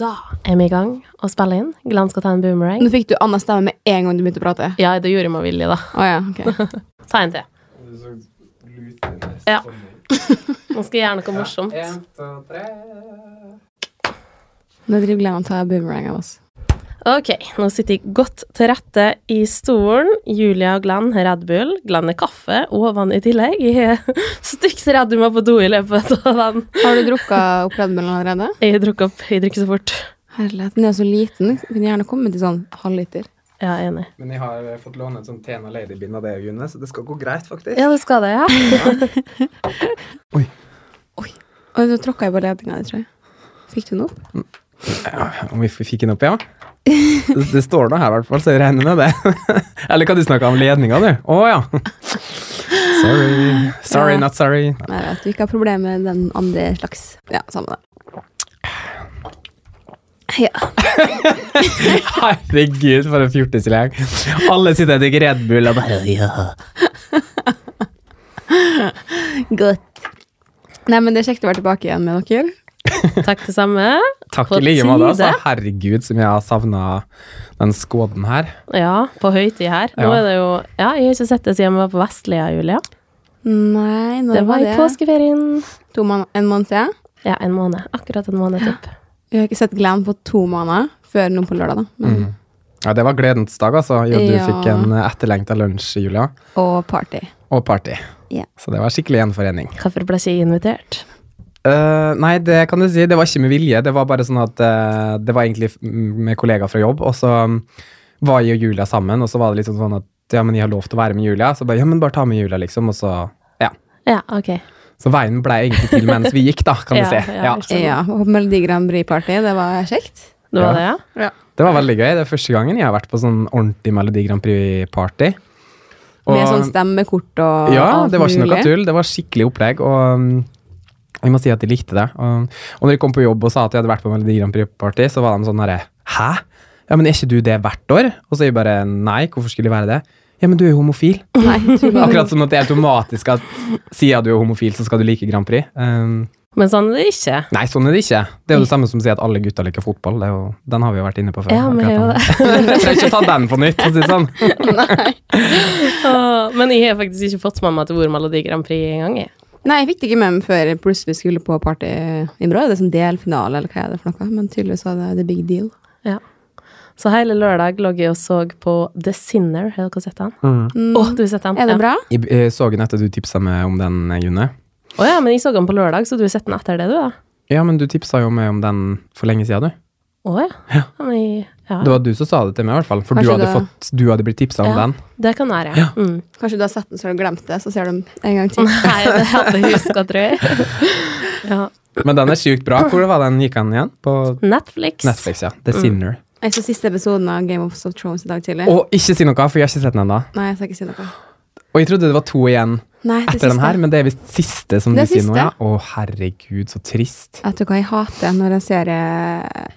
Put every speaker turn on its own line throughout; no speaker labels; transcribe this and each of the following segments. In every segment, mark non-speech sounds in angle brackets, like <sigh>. Da er vi i gang og spiller inn. Glenn skal ta en boomerang.
Nå fikk du annen stemme med en gang du begynte å prate.
Ja, det gjorde jeg med vilje, da.
Å ja, <laughs> ok.
Ta en til.
Du så lute nest.
Ja.
Sånn.
Nå skal jeg gjøre noe morsomt.
Ja, en, to, tre.
Nå driver Glenn og tar boomerang av oss.
Ok, nå sitter jeg godt til rette i stolen. Julia og Glenn har Red Bull. Glenn har kaffe og vann i tillegg. Jeg er <laughs> stygt redd du må på do i løpet av den.
Har du drukka opp Red Bullen allerede?
Jeg drikker opp, jeg drikker så fort.
Herlighet, den er jo så liten. Den kunne gjerne kommet til sånn halvliter.
Ja, jeg er enig.
Men jeg har eh, fått låne et sånt Tena Lady-bind av deg, June, så det skal gå greit, faktisk.
Ja, det skal det, ja.
Oi, nå tråkka jeg på ledninga di, tror jeg. Fikk du den opp?
Om vi f- fikk den opp, ja? Det, det står da her, i hvert fall, så jeg regner med det. <laughs> Eller kan du snakke om ledninga, du? Å ja. Sorry. Sorry,
Ja.
not sorry.
Nei, jeg vet du ikke har problemer med den andre slags. Ja, samme det. Ja.
Herregud, for en fjortisgjeng. Alle sitter og drikker Red Bull og bare ja.
Godt. Nei, men det er kjekt å være tilbake igjen med dere.
<laughs> Takk det samme.
Takk
På
i like måte. Altså.
tide.
Herregud, som jeg har savna den skåden her.
Ja, på høytid her. Nå
Ja.
er det jo Ja, jeg har ikke sett det siden vi var på Vestlia, Julia.
Nei, når
Det var i påskeferien.
To mån en måned siden.
Ja, en måned. Akkurat en måned, typ.
Jeg har ikke sett Glenn på to måneder før nå på lørdag, da. Men,
Ja, Det var gledens dag, altså. Jo, du
Ja.
fikk en etterlengta lunsj, Julia.
Og party.
Og party.
Ja.
Så det var skikkelig gjenforening.
Hvorfor ble ikke jeg invitert?
Eh, nei, det kan du si. Det var ikke med vilje. Det var bare sånn at eh, det var egentlig f- med kollegaer fra jobb, og så mm, var jeg og Julia sammen, og så var det liksom sånn at ja, men jeg har lov til å være med Julia, så bare ja, men bare ta med Julia, liksom, og så ja.
Ja, OK.
Så veien ble egentlig til mens vi gikk, da, kan du
Ja,
si.
ja,
Ja.
jeg skjønner.
<laughs> Ja, og Melodi Grand Prix-party, det var kjekt.
Det var
Ja.
det, ja?
Det var veldig gøy. Det er første gangen jeg har vært på sånn ordentlig Melodi Grand Prix-party.
Med sånn stemmekort og
Ja,
alt
det var ikke noe
mulig.
tull. Det var skikkelig opplegg, og um, jeg må si at de likte det. Og, og når jeg kom på jobb og sa at jeg hadde vært på Melodi Grand Prix-party, så var de sånn herre Hæ? Ja, men er ikke du det hvert år? Og så er jeg bare nei, hvorfor skulle jeg være det? Ja, men du er jo homofil.
Nei, tull.
Akkurat som at det er automatisk at siden du er homofil, så skal du like Grand Prix. Um,
Men sånn er det ikke.
nei, sånn er det ikke. Det er jo det samme som å si at alle gutter liker fotball. Det er jo, den har vi jo vært inne på før.
Ja, men jeg
akkurat <laughs> den. Trenger ikke ta den på nytt, for å si det sånn.
<laughs>
Åh, men jeg har faktisk ikke fått med meg at det var Melodi Grand Prix engang. jeg.
Nei, jeg fikk det ikke med meg før jeg plutselig skulle på party i morgen. Er det sånn delfinale, eller hva er det for noe? Men tydeligvis var det the big deal.
Ja. Så hele lørdag lå jeg og så på The Sinner. Har dere sett den? Å, du har sett den?
Mm. Er det
Ja.
bra?
Jeg eh, så den etter du tipsa meg om den, eh, June.
Å ja, men jeg så den på lørdag, så du har sett den etter det, du, da?
Ja, men du tipsa jo meg om den for lenge siden, du.
Å ja. ja. men jeg, ja.
Det var du som sa det til meg, i hvert fall. For du
Kanskje
hadde,
det-
fått, du hadde blitt tipsa
Ja,
om den.
Det kan være, ja. Mm. <laughs>
Kanskje du har sett den så har du glemt det, så ser du den en gang til.
Nei, det hadde jeg huska, tror jeg.
<laughs>
Ja.
Men den er sykt bra. Hvor var den gikk den igjen? På
Netflix.
Netflix, ja. The Sinner.
Jeg så siste episoden av Game of Thrones i dag tidlig.
Og ikke si noe, for jeg har ikke sett den ennå.
Nei, jeg skal ikke si noe.
Og jeg trodde det var to igjen
Nei, det
etter den
siste.
her, men det er visst siste som
Det er
du sier nå,
siste.
ja. Å, herregud, så trist.
Vet du hva jeg hater når en serie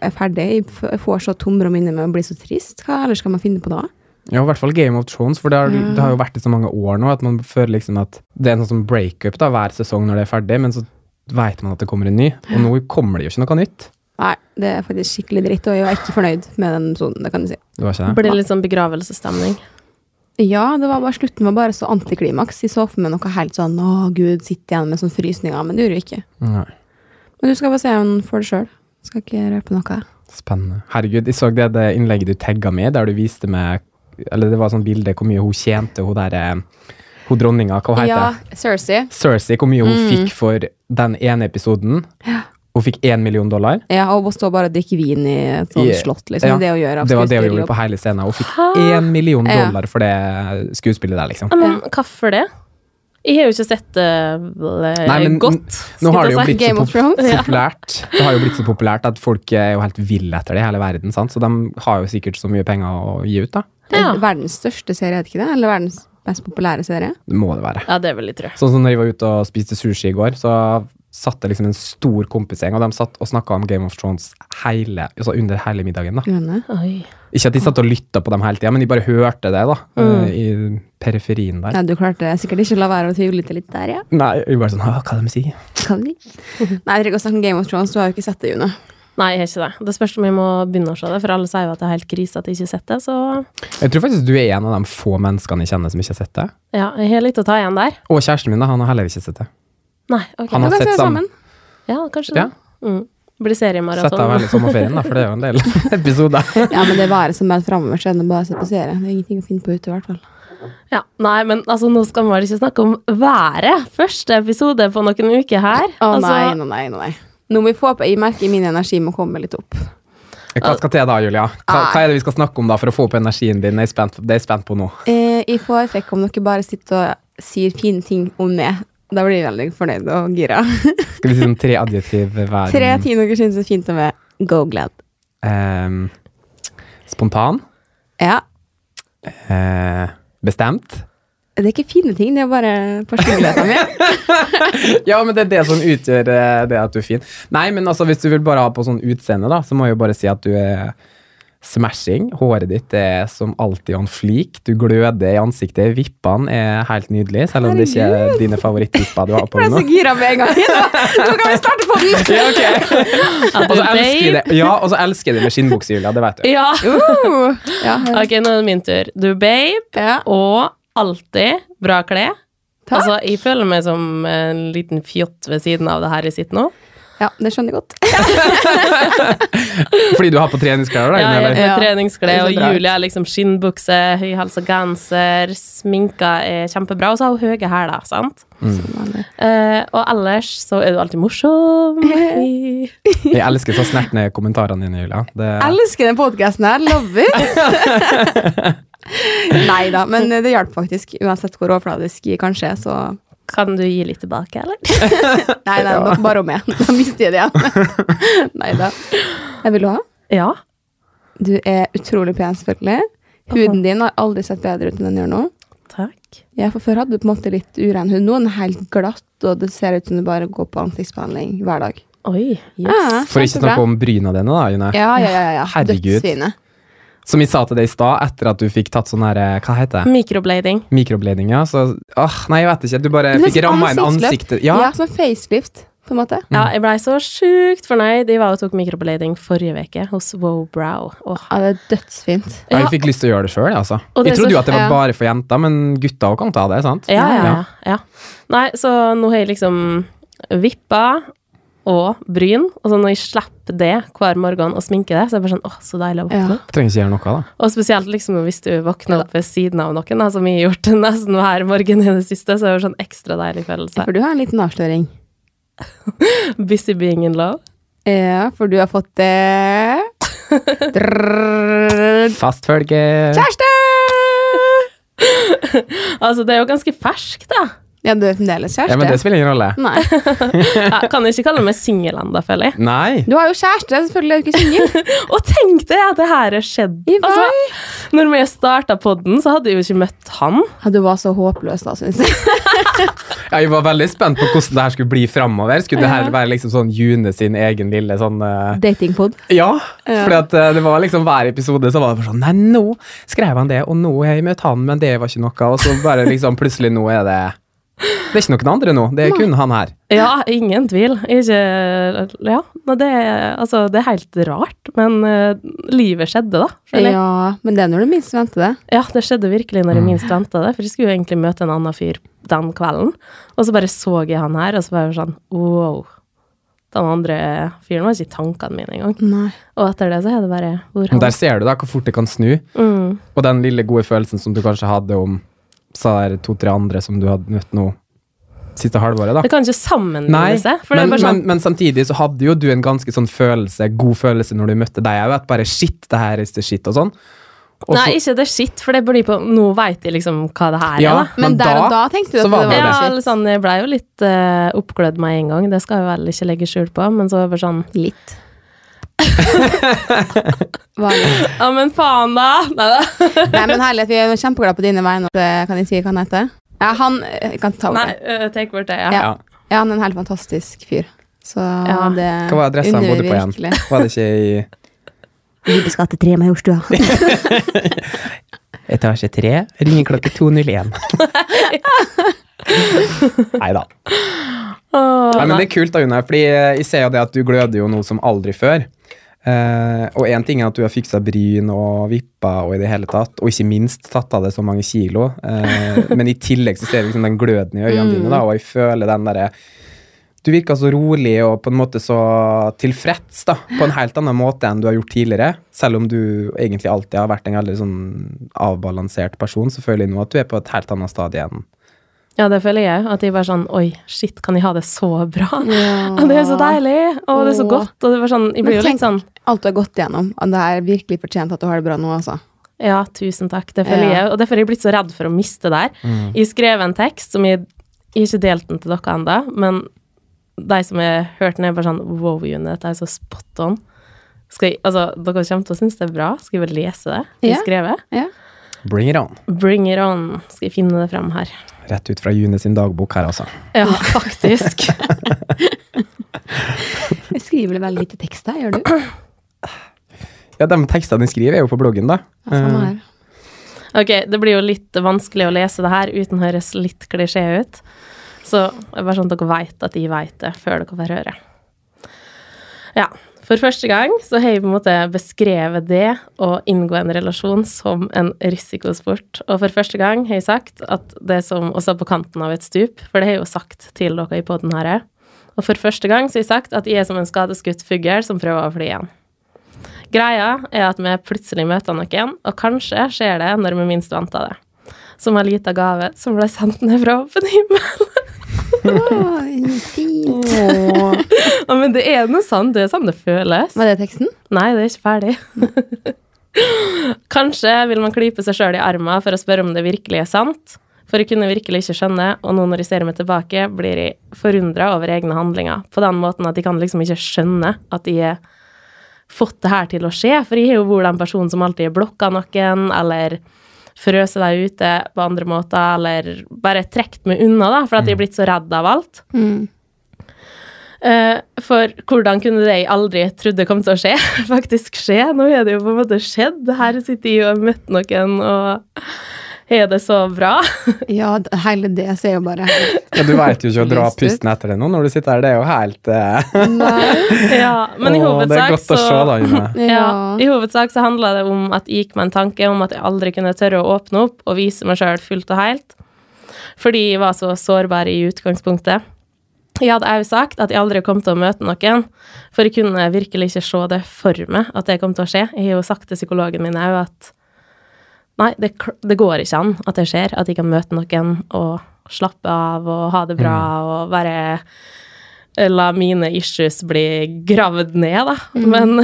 er ferdig? Jeg f- Jeg får så tomrom inni meg og blir så trist. Hva ellers skal man finne på da?
Ja, i hvert fall Game of Thrones, for det har,
Mm.
det har jo vært i så mange år nå at man føler liksom at det er noe sånn breakup da, hver sesong når det er ferdig, men så veit man at det kommer en ny. Og nå kommer det jo ikke noe nytt.
Nei, det er faktisk skikkelig dritt, og jeg var ikke fornøyd med den episoden. det kan du si.
Det var ikke det?
Blir det litt sånn begravelsesstemning?
Ja, det var bare, slutten var bare så antiklimaks. Jeg så for meg noe helt sånn å gud, sitter igjen med sånn frysninger, men det gjorde jeg ikke.
Nei.
Men du skal bare se den for deg sjøl. Skal ikke røpe noe.
Spennende. Herregud, jeg så det, det innlegget du tagga med, der du viste meg Eller det var sånn bilde hvor mye hun tjente, hun derre Hun dronninga, hva hun
Ja, Mm.
heter
Cersei.
Cersei, hvor mye hun fikk for den ene episoden. Hun fikk én million dollar.
Ja, og hun står bare og drikker vin i et sånt
Ja.
slott, liksom.
Ja,
Det hun gjør av
det var det hun gjorde
skuespillerjobb.
på hele scenen. Hun fikk én million
Ja.
dollar for det skuespillet der, liksom.
Ja, men hvorfor det? Jeg har jo ikke sett det eh,
Nei, men
godt.
Nå har det jo
skulle jeg
blitt
si.
så
Game of
pop-
Thrones.
populært Det har jo blitt så populært at folk er jo helt ville etter det i hele verden, sant? så de har jo sikkert så mye penger å gi ut, da.
Det er
Ja.
Verdens største serie, er det ikke det? Eller verdens mest populære serie?
Det må det være.
Ja, det vil jeg tro.
Sånn som når jeg var ute og spiste sushi i går, så satt det liksom en stor kompisgjeng, og de satt og snakka om Game of Thrones hele, altså under hele middagen. da.
Grønne.
Oi.
Ikke at de satt og lytta på dem hele tida, men de bare hørte det da, eh, i periferien der.
Nei, du klarte sikkert ikke å la være å tvile litt der, ja.
Nei, vi bare sånn «Hå, Hva de sier?
<laughs> Kan vi? Nei, jeg trenger ikke å snakke om Game of Thrones, du har jo ikke sett det, June.
Nei, jeg har ikke det. Det spørs om jeg må begynne å se det, for alle sier jo at det er helt krise at jeg ikke har sett det, så
Jeg tror faktisk du er en av de få menneskene jeg kjenner som ikke har sett det.
ja, jeg har litt å ta igjen der.
Og kjæresten min, da, han har heller ikke sett det.
Nei, ok.
Han
Ja,
har
da ser
sett
vi
sammen.
Ja, kanskje det.
Ja.
Mm. Blir
Sett av
seriemaraton.
hele sommerferien, da, for det er jo en del <laughs> episoder.
Ja, men det været som er framover, så er det bare å se på serie. Det er ingenting å finne på ute, i hvert fall.
Ja, nei, men altså, nå skal vi vel ikke snakke om været. Første episode på noen uker her.
Å
altså,
nei, nå, nei, nå, nei. Nå må vi få opp Jeg merker min energi må komme litt opp.
Hva skal til da, Julia? Hva, hva er det vi skal snakke om da for å få opp energien din? Jeg er spent, det er jeg spent på nå.
Eh, jeg foretrekker om dere bare sitter og sier fine ting om meg. Da blir jeg veldig fornøyd og gira.
Skal vi si sånn tre adjektiv hver?
Tre ting dere syns er fint om meg. Go glad.
Ehm, spontan.
Ja.
Eh, bestemt.
Det er ikke fine ting, det er bare personligheten min.
Ja, men det er det som utgjør eh, det at du er fin. Nei, men altså, hvis du vil bare ha på sånn utseende, da, så må jeg jo bare si at du er smashing. Håret ditt er som alltid on fleak. Du gløder i ansiktet. Vippene er helt nydelige, selv om det ikke er dine favorittvipper du
<laughs>
har
Jeg
på
ble så
nå.
gira med en gang. Nå, nå kan vi starte på den!
Ja, ok.
at
Og
du
så elsker Altså, jeg
babe-
det. Ja, og så elsker jeg det med skinnbukse, Julia. Det vet du.
Ja.
Uh, ja,
Ok, nå er det min tur. Du, babe,
ja.
og alltid bra klær.
Takk.
Altså, jeg føler meg som en liten fjott ved siden av det her jeg sitter nå.
ja, det skjønner jeg godt.
Fordi du har på treningsklær?
Ja,
da,
jeg
eller?
har på
Ja.
treningsklær,
Det er så
og
bra.
Julie er liksom skinnbukse, høyhalsa genser, sminka er kjempebra, og så har hun høye hæler, sant?
Som vanlig.
Eh, og ellers så er du alltid
<laughs>
morsom.
Jeg elsker så snertne kommentarene dine, Julia. Det,
Elsker den podkasten her. Love it!
<laughs>
Nei da, men det hjalp faktisk. Uansett hvor overfladisk jeg kanskje er, så
Kan du gi litt tilbake, eller?
Nei, nei, nok bare om meg. <laughs> Da mister jeg det igjen.
<laughs>
Nei da. Jeg vil ha.
Ja.
Du er utrolig pen, selvfølgelig. Huden din har aldri sett bedre ut enn den gjør nå.
Takk.
Ja, for Før hadde du på en måte litt uren hud. Nå er den helt glatt, og det ser ut som du bare går på ansiktsbehandling hver dag.
Oi. Yes.
Ja,
for ikke å
kjempebra.
snakke om bryna dine, da, June.
Ja, ja, ja. ja.
Herregud.
Dødsfine.
Som jeg sa til deg i stad, etter at du fikk tatt sånn her eh, Hva heter det?
Mikroblading.
Mikrobladinga. Så åh, nei, jeg vet ikke. Du bare
Men
fikk
sånn
som
ramma inn
ansiktsløft.
ansiktet.
Ja.
Ja.
som en facelift, på en måte.
Ja, jeg blei så sjukt fornøyd. Jeg var og tok mikroblading forrige uke hos Wowbrow. Åh.
Ja, det er dødsfint.
Ja,
Ja.
jeg fikk lyst til å gjøre det sjøl, altså.
Og det
Jeg
er så-
trodde jo at det var
ja.
bare for jenter, men gutta òg kan ta det, sant?
Ja, ja, ja.
Ja.
ja. Nei, så nå har jeg liksom vippa og bryn, og så når jeg slipper det hver morgen og sminker det, så er det bare sånn åh, så deilig å våkne
Ja.
opp.
Trenger ikke gjøre noe, da.
Og spesielt liksom hvis du våkner opp ved siden av noen, da, som jeg har gjort <laughs> nesten hver morgen i det siste, så er det sånn ekstra deilig følelse.
For du har en liten avsløring.
Busy being in love.
Ja, for du har fått det Drrrr.
Fast følge.
Kjæreste!
Altså, det er jo ganske ferskt, da.
Ja, du er fremdeles kjæreste.
Ja, men det spiller ingen rolle.
Nei.
Jeg kan ikke kalle meg singel ennå, føler jeg.
Nei.
Du har jo kjæreste, selvfølgelig er du ikke singel.
Og tenk deg at det her har skjedd. Altså,
Jeg vet.
når vi starta podden, så hadde jeg jo ikke møtt han.
Ja, du var så håpløs da, syns jeg.
Ja, jeg var veldig spent på hvordan det her skulle bli framover. Skulle det her være liksom sånn June sin egen lille sånn eh,
Datingpod.
Ja,
Ja.
for det var liksom hver episode så var det bare sånn Nei, nå skrev han det, og nå har jeg møtt han, men det var ikke noe. Og så bare liksom plutselig nå er det Det er ikke noen andre nå, det er kun han her.
Ja, ingen tvil. Ikke Ja, nei, det, er- altså, det er helt rart, men eh, livet skjedde, da. føler jeg.
Ja, men det er når du minst venter det.
Ja, det skjedde virkelig
Mm.
når jeg minst venta det, for jeg skulle jo egentlig møte en annen fyr den kvelden, og så bare så jeg han her, og så var jeg sånn wow. Den andre fyren var ikke i tankene mine engang.
Nei.
Og etter det så er det bare hvor
Men
han
der ser du da hvor fort det kan snu.
mm.
Og den lille gode følelsen som du kanskje hadde om sa der to-tre andre som du hadde møtt nå siste halvåret, da.
Det kan ikke
Nei,
sammenligne seg. For det
men,
er bare
men,
sånn
men samtidig så hadde jo du en ganske sånn følelse, god følelse når du møtte deg òg, at bare shit, det her is the shit, og sånn. Og
Nei,
så-
ikke det er skitt, for det blir på Nå veit jeg liksom hva det her er,
Ja.
da.
Men,
Men
der og da
da
tenkte du
så
at det
var
var
det
Ja,
shit.
eller sånn, jeg blei jo litt eh, oppglødd med en gang, det skal jeg vel ikke legge skjul på, men så var jeg bare sånn
Litt. Var litt.
Ja, men faen, da! Nei da.
Nei, men herlighet, vi er kjempeglade på dine vegne. Eh, Kan jeg si hva han heter? Ja, han jeg kan ta over.
Nei, eh, take over det, ja.
Ja.
Ja.
Ja, han er en helt fantastisk fyr. Så
Ja.
det
Hva var adressa han bodde på igjen? Var det ikke i
Vibes gate 3 Majorstua.
Etasje 3, ringer klokke 201. Nei da.
Åh,
Nei, men
nei.
det er kult da, Una, fordi eh, jeg ser jo det at du gløder jo noe som aldri før. Eh, og én ting er at du har fiksa bryn og vippa og i det hele tatt, og ikke minst tatt av deg så mange kilo, eh, men i tillegg så ser jeg liksom den gløden i øynene dine, da, og jeg føler den derre Du virker så rolig og på en måte så tilfreds, da, på en helt annen måte enn du har gjort tidligere. Selv om du egentlig alltid har vært en veldig sånn avbalansert person, så føler jeg nå at du er på et helt annet stadie enn
Ja, det føler jeg At jeg bare sånn Oi, shit, kan jeg ha det så bra? <laughs>
Ja.
Og det er så deilig! Og det er så
Åh.
godt. Og det var sånn Jeg
Men
blir jo
tenk
litt sånn
alt du har gått gjennom. at Det er virkelig fortjent at du har det bra nå, altså.
Ja, tusen takk. Det føler
Ja.
jeg. Og derfor har jeg blitt så redd for å miste det her. Jeg skrev en tekst som jeg, jeg har ikke delt den til dere ennå, men de som har hørt den, er bare sånn Wow, June, dette er så spot on. Skal jeg, altså, dere kommer til å synes det er bra. Skal jeg bare lese det? Jeg
Ja.
skrevet.
Ja.
Bring it on.
Bring it on. Skal jeg finne det frem her.
Rett ut fra June sin dagbok her, altså.
Ja, faktisk.
Jeg skriver vel veldig lite tekst her, gjør du?
Ja, de tekstene jeg skriver, er jo på bloggen, da.
Ja, samme her.
Ok, det blir jo litt vanskelig å lese det her uten å høres litt klisjé ut. Så det er bare sånn at dere vet at de vet det før dere får høre. Ja, for første gang så har jeg på en måte beskrevet det å inngå en relasjon som en risikosport. Og for første gang har jeg sagt at det er som å stå på kanten av et stup, for det har jeg jo sagt til dere i podden her. Og for første gang så har jeg sagt at jeg er som en skadeskutt fugl som prøver å fly igjen. Greia er at vi plutselig møter noen, og kanskje skjer det når vi minst venter det. Som en liten gave som ble sendt ned fra åpen himmel.
Å, fint.
<laughs> Ja, men det er noe sånn, det er sånn det føles.
Var det teksten?
Nei, det er ikke ferdig. <laughs> Kanskje vil man klype seg sjøl i armen for å spørre om det virkelig er sant. For jeg kunne virkelig ikke skjønne, og nå når jeg ser meg tilbake, blir jeg forundra over egne handlinger. På den måten at jeg kan liksom ikke skjønne at jeg har fått det her til å skje. For jeg har jo vært den personen som alltid har blokka noen, eller frøset dem ute på andre måter, eller bare trukket meg unna, da, for at jeg er blitt så redd av alt. Eh, for hvordan kunne det jeg aldri trodde kom til å skje, <laughs> faktisk skje? Nå er det jo på en måte skjedd. Her sitter jeg og har møtt noen, og har det så bra. <laughs>
Ja, d- hele det ser jo bare
Ja, du veit jo ikke å dra
Lyst ut.
pusten etter det nå når du sitter her, det er jo helt eh,
Nei.
ja, men i
Åh, Det er
hovedsak
godt <laughs> å se,
så
da, June.
ja, I hovedsak så handla det om at jeg gikk med en tanke om at jeg aldri kunne tørre å åpne opp og vise meg sjøl fullt og helt, fordi jeg var så sårbar i utgangspunktet. Jeg hadde òg sagt at jeg aldri kom til å møte noen, for jeg kunne virkelig ikke se det for meg at det kom til å skje. Jeg har jo sagt til psykologen min òg at nei, det, kl- det går ikke an at det skjer, at jeg kan møte noen og slappe av og ha det bra og bare eh, la mine issues bli gravd ned, da. Men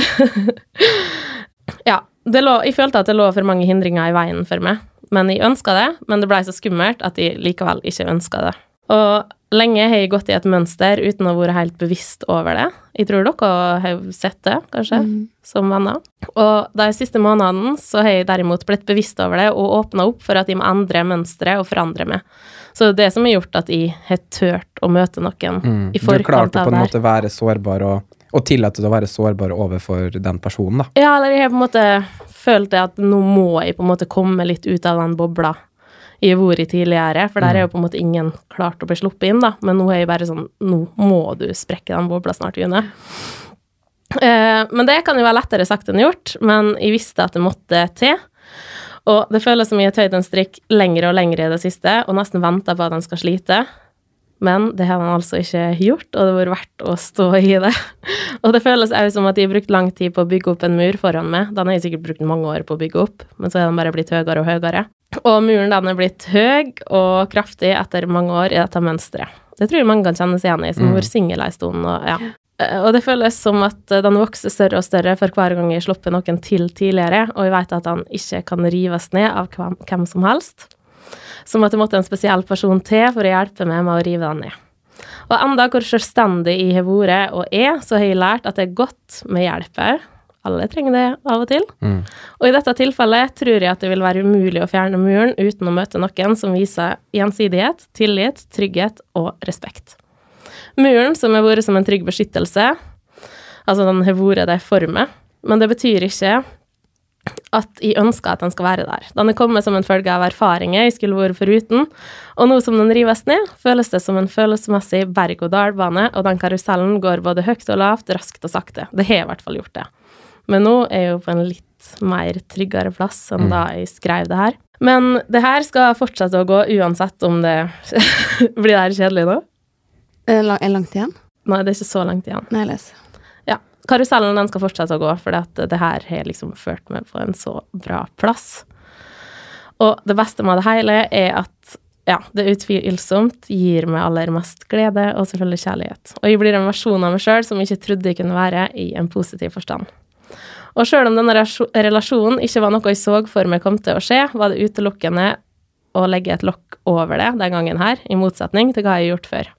ja. Det lå, jeg følte at det lå for mange hindringer i veien for meg. Men jeg ønska det, men det blei så skummelt at jeg likevel ikke ønska det. Og lenge har jeg gått i et mønster uten å være helt bevisst over det. Jeg tror dere har sett det, kanskje,
Mm.
som venner. Og de siste månedene så har jeg derimot blitt bevisst over det og åpna opp for at jeg må endre mønsteret og forandre meg. Så det er det som har gjort at jeg har turt å møte noen
Mm.
i
Du
forkant
klarte på
av
en
det her.
måte å være sårbar og, og tillate deg å være sårbar overfor den personen, da.
Ja, eller jeg har på en måte følt det at nå må jeg på en måte komme litt ut av den bobla jeg har vært i tidligere, for der er jo på en måte ingen klart å bli sluppet inn, da. Men nå er jeg bare sånn Nå må du sprekke den bobla snart, June. Eh, men det kan jo være lettere sagt enn gjort, men jeg visste at det måtte til. Og det føles som jeg har tøyd en strikk lengre og lengre i det siste, og nesten venta på at den skal slite. Men det har han altså ikke gjort, og det har vært verdt å stå i det. <laughs> Og det føles òg som at de har brukt lang tid på å bygge opp en mur foran meg. Den har jeg sikkert brukt mange år på å bygge opp, men så er den bare blitt høyere og høyere. Og muren den er blitt høy og kraftig etter mange år i dette mønsteret. Det tror jeg mange kan kjenne seg igjen i, som har vært singel en stund. Og, ja. Eh, og det føles som at eh, den vokser større og større for hver gang jeg slipper noen til tidligere, og jeg vet at den ikke kan rives ned av hvem, hvem som helst. Som at det måtte en spesiell person til for å hjelpe meg med å rive den ned. Og enda hvor selvstendig jeg har vært og er, så har jeg lært at det er godt med hjelp her. Alle trenger det av og til. Og i dette tilfellet tror jeg at det vil være umulig å fjerne muren uten å møte noen som viser gjensidighet, tillit, trygghet og respekt. Muren som har vært som en trygg beskyttelse, altså den har vært der for meg, men det betyr ikke at jeg ønsker at den skal være der. Den er kommet som en følge av erfaringer jeg skulle vært foruten, og nå som den rives ned, føles det som en følelsesmessig berg-og-dal-bane, og den karusellen går både høyt og lavt, raskt og sakte. Det har i hvert fall gjort det. Men nå er jeg jo på en litt mer tryggere plass enn da jeg skrev det her. Men det her skal fortsette å gå uansett om det <laughs> Blir det her kjedelig nå?
Er det la- er det langt igjen?
Nei, det er ikke så langt igjen.
Nei, les.
Ja. Karusellen den skal fortsette å gå, for det her har liksom ført meg på en så bra plass. Og det beste med det hele er at ja, det utvilsomt gir meg aller mest glede og selvfølgelig kjærlighet. Og jeg blir en versjon av meg sjøl som jeg ikke trodde jeg kunne være i en positiv forstand. Og sjøl om denne relasjo- relasjonen ikke var noe jeg så for meg kom til å skje, var det utelukkende å legge et lokk over det den gangen her, i motsetning til hva jeg har gjort før.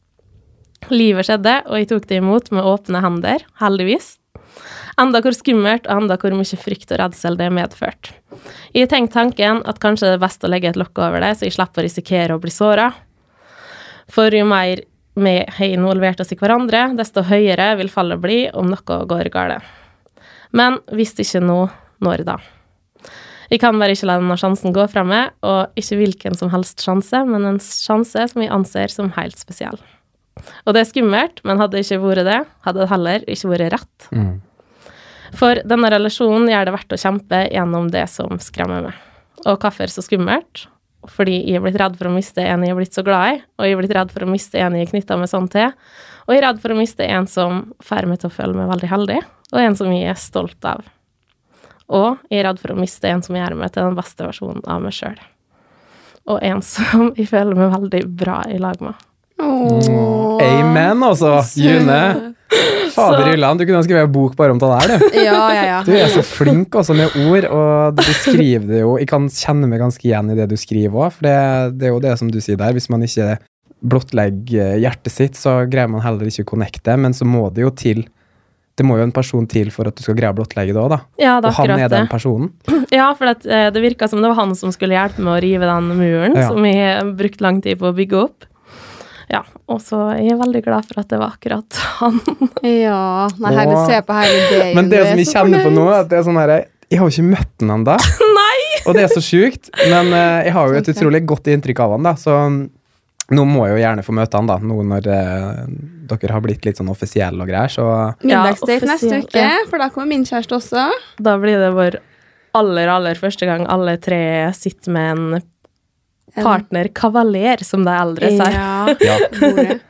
Livet skjedde, og jeg tok det imot med åpne hender, heldigvis. Enda hvor skummelt og enda hvor mye frykt og redsel det medførte. Jeg har tenkt tanken at kanskje det er best å legge et lokk over det, så jeg slipper å risikere å bli såra. For jo mer vi har involvert oss i hverandre, desto høyere vil fallet bli om noe går galt. Men hvis ikke nå, når da? Jeg kan bare ikke la denne sjansen gå fra meg, og ikke hvilken som helst sjanse, men en sjanse som jeg anser som helt spesiell. Og det er skummelt, men hadde det ikke vært det, hadde det heller ikke vært rett.
Mm.
For denne relasjonen gjør det verdt å kjempe gjennom det som skremmer meg. Og hvorfor så skummelt? Fordi jeg er blitt redd for å miste en jeg er blitt så glad i, og jeg er blitt redd for å miste en jeg er knytta meg sånn til, og jeg er redd for å miste en som får meg til å føle meg veldig heldig, og en som jeg er stolt av. Og jeg er redd for å miste en som gjør meg til den beste versjonen av meg sjøl. Og en <laughs> som jeg føler meg veldig bra i lag med.
Åh.
Amen, altså!
<laughs>
June. Fader Ylland, du kunne skrevet en bok bare om det der, du.
Ja, ja, ja.
Du er så flink også med ord, og du skriver det jo Jeg kan kjenne meg ganske igjen i det du skriver òg, for det, det er jo det som du sier der. Hvis man ikke blottlegger eh, hjertet sitt, så greier man heller ikke å connecte, men så må det jo til Det må jo en person til for at du skal greie å blottlegge det òg, da.
Ja, det
Og
er
han
akkurat
er
det.
den personen.
Ja, for at, eh, det virka som det var han som skulle hjelpe med å rive den muren
Ja.
som vi har brukt lang tid på å bygge opp. Ja, og så er jeg veldig glad for at det var akkurat <laughs> han.
Ja, nei, herlig,
Åh.
se på herlig dagen.
Men det
du er
som jeg
så
kjenner på
fornøyd.
nå, er at det er sånn herre Jeg har jo ikke møtt han ennå. Og det er så sjukt. Men eh, jeg har jo et
Tenk det.
utrolig godt inntrykk av han, da. Så mm, nå må jeg jo gjerne få møte han, da. Nå når eh, dere har blitt litt sånn offisielle og greier, så
Middagsdate
Ja,
neste
offisiell,
uke,
ja.
for da kommer min kjæreste også.
Da blir det vår aller, aller første gang alle tre sitter med en partner kavaler, som de eldre sier.
Ja,
ja.
bordet.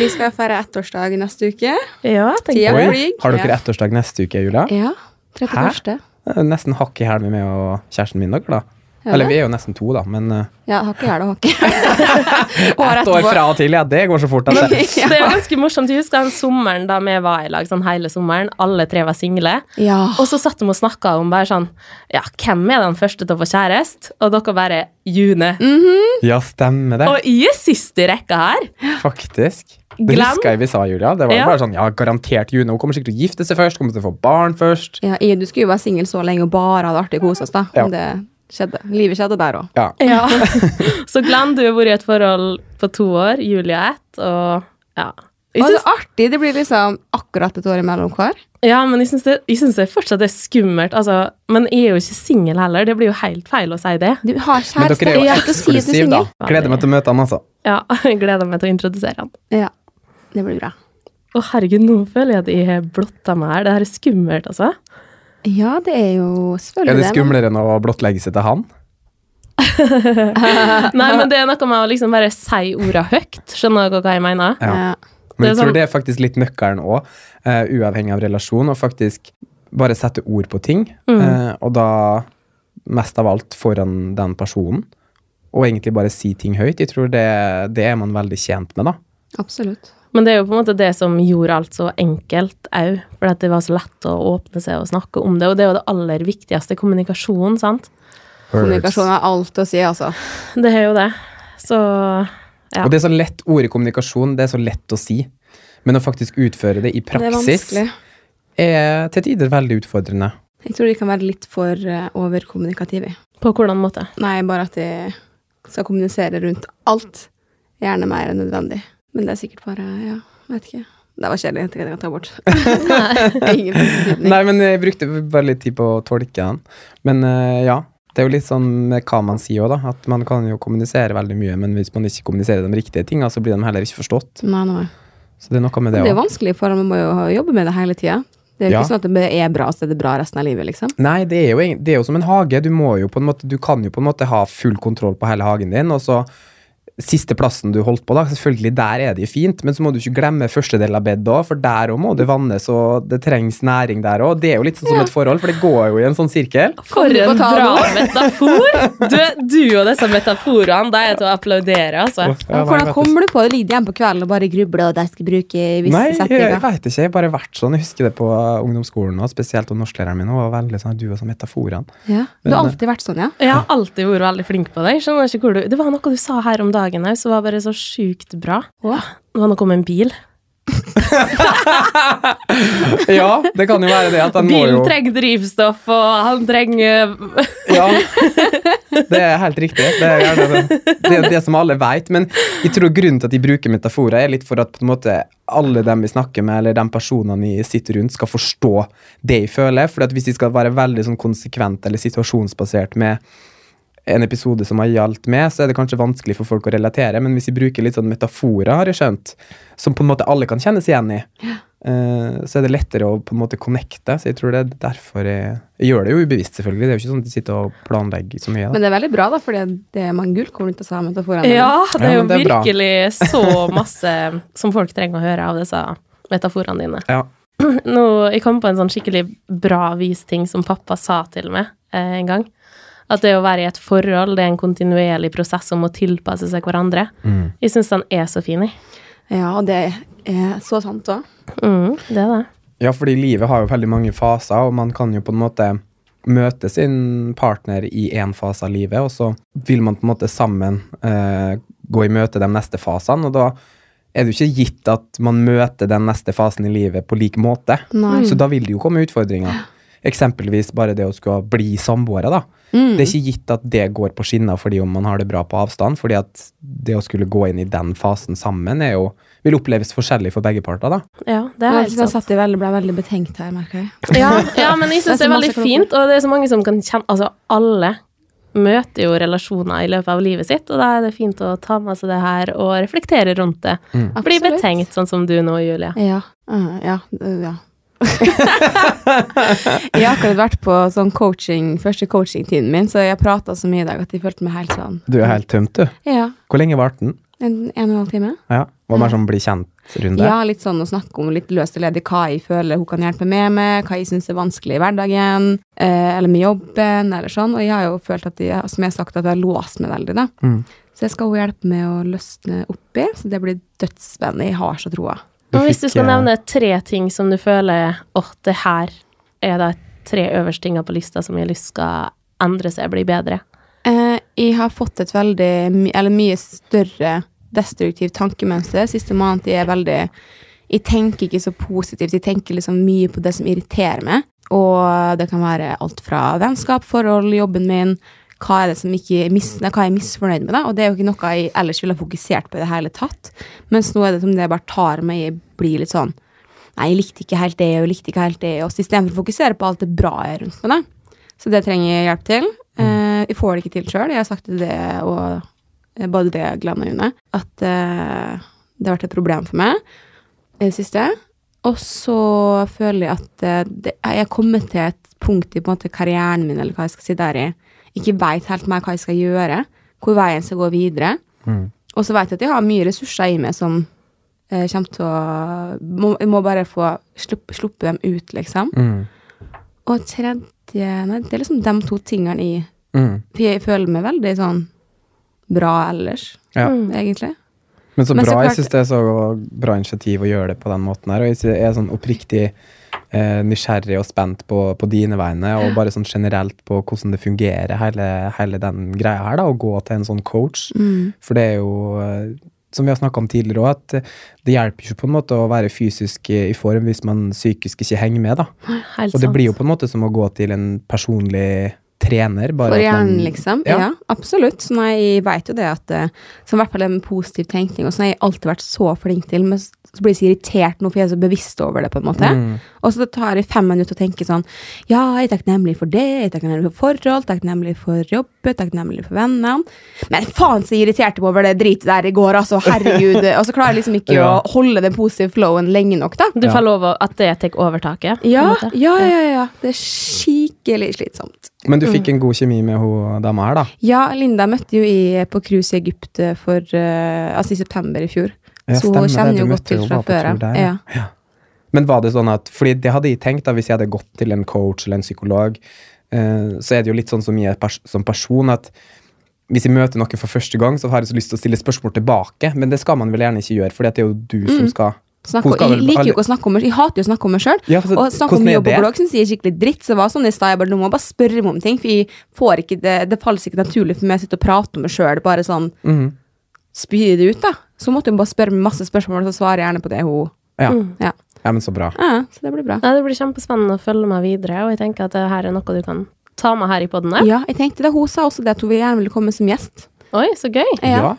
Vi skal feire ettårsdag neste uke.
Ja, jeg tenker
Ja,
det.
Oi,
flink.
har
Ja.
dere ettårsdag neste uke, Julia?
Ja, 31.
Det er Nesten hakk i hæl med meg og kjæresten min, dere, da.
Ja.
Eller vi er jo nesten to, da, men eh,
Ja, har ikke hæl og har <laughs> ikke
ett år fra og til, ja, det går så fort at det
<laughs>
Det er jo ganske morsomt. Jeg husker den sommeren da vi var i lag, sånn hele sommeren. Alle tre var single.
Ja.
Og så satt de og snakka om bare sånn Ja, hvem er den første til å få kjæreste? Og dere bare June.
Ja, stemmer det.
Og jeg er sist i rekka her.
Faktisk. Det
Glenn?
husker jeg vi sa, Julia. Det var
Ja.
bare sånn, ja, garantert June. Hun kommer sikkert til å gifte seg først, kommer til å få barn først.
ja jeg, du skulle jo være singel så lenge og bare ha det artig og kose oss, da.
Ja.
Men det skjedde. Livet skjedde der òg.
Ja.
Ja. så Glenn, du har vært i et forhold på to år, Julie ett, og ja. Jeg
Og det
syns,
er artig. Det blir liksom akkurat et år imellom hver.
ja, men jeg syns det, jeg syns det fortsatt er skummelt, altså. Men jeg er jo ikke singel heller, det blir jo helt feil å si det.
Du har
Men
kjæreste.
dere er jo
jeg skal si at du er
eksklusive, da.
singel.
Gleder meg til å møte han, altså.
Ja, <laughs> jeg gleder meg til å introdusere han.
Ja, det blir bra.
Å herregud, nå føler jeg at jeg har blotta meg her, det her er skummelt, altså.
Ja, det er jo
Er
selvfølgelig
det skumlere enn å blottlegge seg til han?
Nei, men det er noe med å liksom bare si orda høyt, skjønner dere hva jeg mener?
men-
Ja.
Ja.
Det
Men jeg
er sånn-
tror det er faktisk litt nøkkelen òg, uavhengig av relasjon, og faktisk bare sette ord på ting. eh, Og da mest av alt foran den personen. Og egentlig bare si ting høyt. Jeg tror det, det er man veldig tjent med, da.
Absolutt.
Men det er jo på en måte det som gjorde alt så enkelt òg, for at det var så lett å åpne seg og snakke om det, og det er jo det aller viktigste, kommunikasjon, sant?
Kommunikasjon har alt å si, altså.
Det er jo det. Så ja.
Og det er så lett ordet kommunikasjon, det er så lett å si. Men å faktisk utføre det i praksis
Det er vanskelig.
er, til tider veldig utfordrende.
Jeg tror de kan være litt for eh, overkommunikative.
På hvordan måte?
Nei, bare at de skal kommunisere rundt alt. Gjerne mer enn nødvendig. Men det er sikkert bare Ja, vet ikke. Det var kjedelig. Det kan jeg ta <laughs> bort. Ingen betydning.
Nei, men jeg brukte bare litt tid på å tolke den. Men eh, ja, det er jo litt sånn med hva man sier òg, da. At man kan jo kommunisere veldig mye, men hvis man ikke kommuniserer de riktige tinga, så blir de heller ikke forstått.
Nei, nei.
Så det er noe med
Det
det
er jo
òg.
vanskelig, for man må jo ha- jobbe med det hele tida. Det er jo
Ja.
ikke sånn at det er bra, så er det bra resten av livet, liksom.
Nei, det er, jo, egent- det er jo som en hage. Du, må jo på en måte, du kan jo på en måte ha full kontroll på hele hagen din, og så siste plassen du holdt på, da. Selvfølgelig, der er det jo fint, men så må du ikke glemme første del av bedet òg, for der òg må det vannes, og det trengs næring der òg. Det er jo litt sånn som et forhold, for det går jo i en sånn sirkel.
For
du på
en
tale
bra
<laughs>
metafor! Du, du og disse metaforene, de er til å applaudere, altså.
Men hvordan kommer du på det? Ligger hjemme på kvelden og bare grubler og de skal bruke visse
Nei, jeg, jeg
setninger?
veit ikke. Jeg har bare vært sånn. Jeg husker det på eh, ungdomsskolen òg, spesielt og norsklæreren min. Hun var veldig sånn du og sånn metaforene.
Ja. Du
eh,
har alltid vært sånn, ja?
Jeg har alltid vært veldig flink på det. Jeg skjønner ikke hvor du... Det var noe du sa her om dagen her, som var bare så sjukt bra.
Hva?
Det var noe om en bil.
Ja, det kan jo være det at den må
Bilen
jo
trenger drivstoff, og han trenger
ja, Det er helt riktig. Det er gjerne det, det, er det som alle veit. Men jeg tror grunnen til at de bruker metaforer, er litt for at på en måte alle dem vi snakker med, eller de personene jeg sitter rundt, skal forstå det jeg føler. For at hvis de skal være veldig sånn konsekvent eller situasjonsbasert med en episode som har gjaldt meg, så er det kanskje vanskelig for folk å relatere, men hvis vi bruker litt sånn metaforer, har jeg skjønt, som på en måte alle kan kjenne seg igjen i, eh, så er det lettere å på en måte connecte. Så jeg tror det er derfor jeg, jeg gjør det jo ubevisst, selvfølgelig. Det er jo ikke sånn at jeg sitter og planlegger så mye. Da.
Men det er veldig bra, da, fordi det er mange gullkorn rundt oss her metaforene.
Ja, det er
Ja,
jo
men det er bra.
virkelig så masse som folk trenger å høre av disse metaforene dine.
ja.
Nå, jeg kom på en sånn skikkelig bra vis ting som pappa sa til meg eh, en gang. At det å være i et forhold, det er en kontinuerlig prosess om å tilpasse seg hverandre.
Mm.
Jeg syns den er så fin, jeg.
Ja, og det er så sant òg.
Mm, det er det.
Ja, fordi livet har jo veldig mange faser, og man kan jo på en måte møte sin partner i én fase av livet, og så vil man på en måte sammen eh, gå i møte de neste fasene, og da er det jo ikke gitt at man møter den neste fasen i livet på lik måte.
Nei.
Så da vil det jo komme utfordringer. Eksempelvis bare det å skulle bli samboere, da.
Mm.
Det er ikke gitt at det går på skinner fordi om man har det bra på avstand, fordi at det å skulle gå inn i den fasen sammen er jo, vil oppleves forskjellig for begge parter, da.
Ja, det er
Jeg
helt
synes jeg
sant.
satt i veldig, ble veldig betenkt her, merker jeg.
<laughs>
Ja, ja men jeg syns
Det
det er
er så
veldig
masse klokt.
fint, og det er så mange som kan kjenne Altså, alle møter jo relasjoner i løpet av livet sitt, og da er det fint å ta med seg det her og reflektere rundt det.
Mm.
Bli
Absolutt.
betenkt, sånn som du nå, Julie.
Ja. Uh, ja. Uh, ja. <laughs> jeg har akkurat vært på sånn coaching, første coachingtiden min, så jeg prata så mye i dag at jeg følte meg helt sånn
Du er helt tømt, du.
Ja.
Hvor lenge varte den?
En, en og en halv time?
Ja. Var mer sånn bli kjent-runde?
Ja, litt sånn å snakke om litt løst og ledig hva jeg føler hun kan hjelpe meg med, hva jeg syns er vanskelig i hverdagen, eh, eller med jobben, eller sånn. Og jeg har jo følt at jeg, som jeg har sagt, at jeg har låst meg veldig, da.
Mm.
Så jeg skal hun hjelpe meg å løsne opp i, så det blir dødsspennende. Jeg har så troa.
Du
Og hvis du
fikk,
skal
eh,
nevne tre ting som du føler åh, det her er de tre øverste tinga på lista som jeg har lyst skal endre seg, bli bedre.
Eh, jeg har fått et veldig, my- eller mye større destruktivt tankemønster. Siste måned jeg er veldig Jeg tenker ikke så positivt. Jeg tenker liksom mye på det som irriterer meg. Og det kan være alt fra vennskap, forhold, jobben min hva er det som ikke mis, nei, hva er jeg misfornøyd med, da? Og det er jo ikke noe jeg ellers ville ha fokusert på i det hele tatt. Mens nå er det som det bare tar meg, jeg blir litt sånn Nei, jeg likte ikke helt det, og jeg likte ikke helt det. Og så istedenfor å fokusere på alt det bra jeg er rundt meg, da. Så det trenger jeg hjelp til. Eh, jeg får det ikke til sjøl. Jeg har sagt til det og eh, både det og Glenn og June at eh, det har vært et problem for meg i det siste. Og så føler jeg at eh, det, jeg er kommet til et punkt i på en måte karrieren min, eller hva jeg skal si der i, ikke veit helt mer hva jeg skal gjøre, hvor veien skal gå videre.
Mm.
Og så veit jeg at jeg har mye ressurser i meg som eh, kommer til å må, Jeg må bare få slupp, sluppe dem ut, liksom.
Mm.
Og tredje Nei, det er liksom de to tingene i
Mm.
For jeg føler meg veldig sånn bra ellers,
Ja.
Mm.
egentlig.
Men så
Men så
bra.
klart-
Jeg syns det er så bra initiativ å gjøre det på den måten her. Og jeg sy- jeg er sånn oppriktig eh, nysgjerrig og spent på, på dine vegne, og bare sånn generelt på hvordan det fungerer, hele, hele den greia her, da, å gå til en sånn coach. For det er jo eh, som vi har snakka om tidligere òg, at eh, det hjelper ikke på en måte å være fysisk i i form hvis man psykisk ikke henger med, da.
Helt
Og det
sant.
blir jo på en måte som å gå til en personlig trener. Bare
For
at man-
hjernen, liksom. Ja, absolutt. Så nei, jeg vet jo det at eh, Så i hvert fall en positiv tenkning, og sånn har jeg alltid vært så flink til, men s- så blir jeg så irritert nå, for jeg er så bevisst over det, på en måte.
Mm.
Og så tar jeg fem minutter og tenker sånn Ja, jeg er takknemlig for det, jeg er takknemlig for forhold, takknemlig for jobb, jeg er takknemlig for vennene. Men faen så irriterte jeg meg over det dritet der i går, altså.
<laughs>
Herregud. og så klarer jeg liksom ikke
Ja.
å holde den positive flowen lenge nok, da.
Du
Ja.
får lov å- at det tar overtaket. på en
Ja,
måte.
ja, ja, ja. Det er skikkelig slitsomt.
Men du
Mm.
fikk en god kjemi med hun dama her, da.
Ja, Linda møtte jo i, på cruise i Egypt eh, for, eh, altså i september i fjor.
Ja,
så hun
stemmer det,
kjenner
du
jo
møtte
godt til
jo
fra
bare på
før
tur der,
av.
ja.
Ja.
Men var det sånn at Fordi det hadde jeg tenkt, da, hvis jeg hadde gått til en coach eller en psykolog, eh, så er det jo litt sånn som jeg er pers som person at hvis jeg møter noen for første gang, så har jeg så lyst til å stille spørsmål tilbake, men det skal man vel gjerne ikke gjøre, for det er jo du
Mm.
som skal
Snakke,
Hun skal
jeg
vel-
liker jo ikke å snakke om meg Jeg hater jo å snakke om meg sjøl.
Ja, for så-
og snakke om
hvordan er
jobb og
det?
blogg syns jeg er skikkelig dritt. Så det var sånn i stad, jeg bare, nå må jeg bare spørre meg om ting, for jeg får ikke det, det faller ikke naturlig for meg å sitte og prate om meg sjøl, bare sånn
Mhm.
spy det ut, da. Så måtte hun bare spørre meg masse spørsmål, og så svarer jeg gjerne på det hun
Ja.
Ja,
ja, men så bra.
ja så det blir bra.
Nei, det blir kjempespennende å følge meg videre, og jeg tenker at det her er noe du kan ta med her i poden.
Ja, jeg tenkte det. Hun sa også det at hun vil gjerne ville komme som gjest.
Oi, så gøy!
Ja.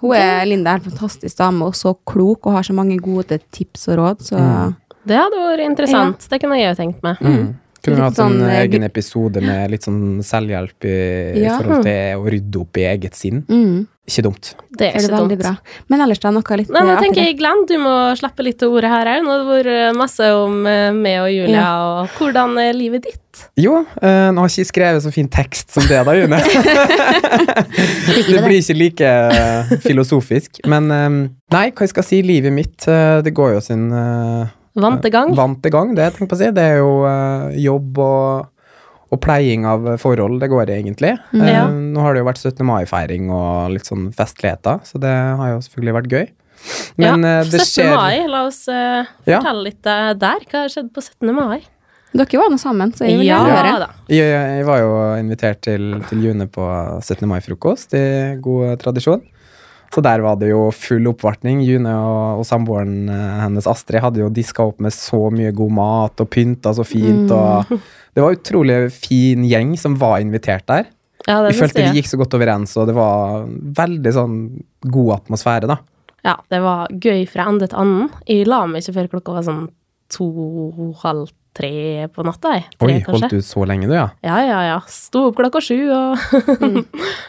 Hun er, Linda er en fantastisk dame og så klok og har så mange gode tips og råd. Så
Det hadde vært interessant. Det kunne jeg jo tenkt meg.
Mm. Kunne vi
Litt
hatt en
sånn, eh,
egen episode med litt sånn selvhjelp i,
Ja.
i forhold til å rydde opp i eget sinn?
mm,
Ikke dumt.
Det
det
er
er
ikke dumt.
veldig bra. Men ellers da, noe litt
Nei, nå
eh,
tenker
artigere?
jeg, Glenn, du må slippe litt til ordet her òg. Nå har det vært masse om eh, meg og Julia, og hvordan er livet ditt?
Jo, eh, nå har ikke jeg skrevet så fin tekst som det da,
<laughs>
June. <laughs> det blir ikke like eh, filosofisk. Men eh, nei, hva jeg skal si, livet mitt, eh, det går jo sin eh,
Vant i gang?
vant i gang, det jeg tenker på å si. Det er jo eh, jobb og, og pleiing av forhold, det går det egentlig. Eh,
Mm. Ja.
Nå har det jo vært 17. mai-feiring og litt sånn festligheter, så det har jo selvfølgelig vært gøy.
ja.
eh,
17. mai, la oss eh,
Ja.
fortelle litt eh, der. Hva har skjedd på 17. mai?
Dere var nå sammen, så jeg vil
ja
gjerne høre.
da.
Jeg, jeg var jo invitert til, til June på 17. mai-frokost, i god tradisjon. Så der var det jo full oppvartning. June og, og samboeren eh, hennes Astrid hadde jo diska opp med så mye god mat og pynta så fint. Og det var utrolig fin gjeng som var invitert der.
Ja, det
Jeg
synes
følte vi
jeg.
gikk så godt overens, og det var veldig sånn god atmosfære, da.
Ja, det var gøy fra ende til annen. Jeg la meg ikke før klokka var sånn to-halv tre på natta. Jeg. Tre,
Oi,
kanskje.
holdt du så lenge, du, ja?
Ja, ja, ja. Sto opp klokka sju og <laughs>
Mm.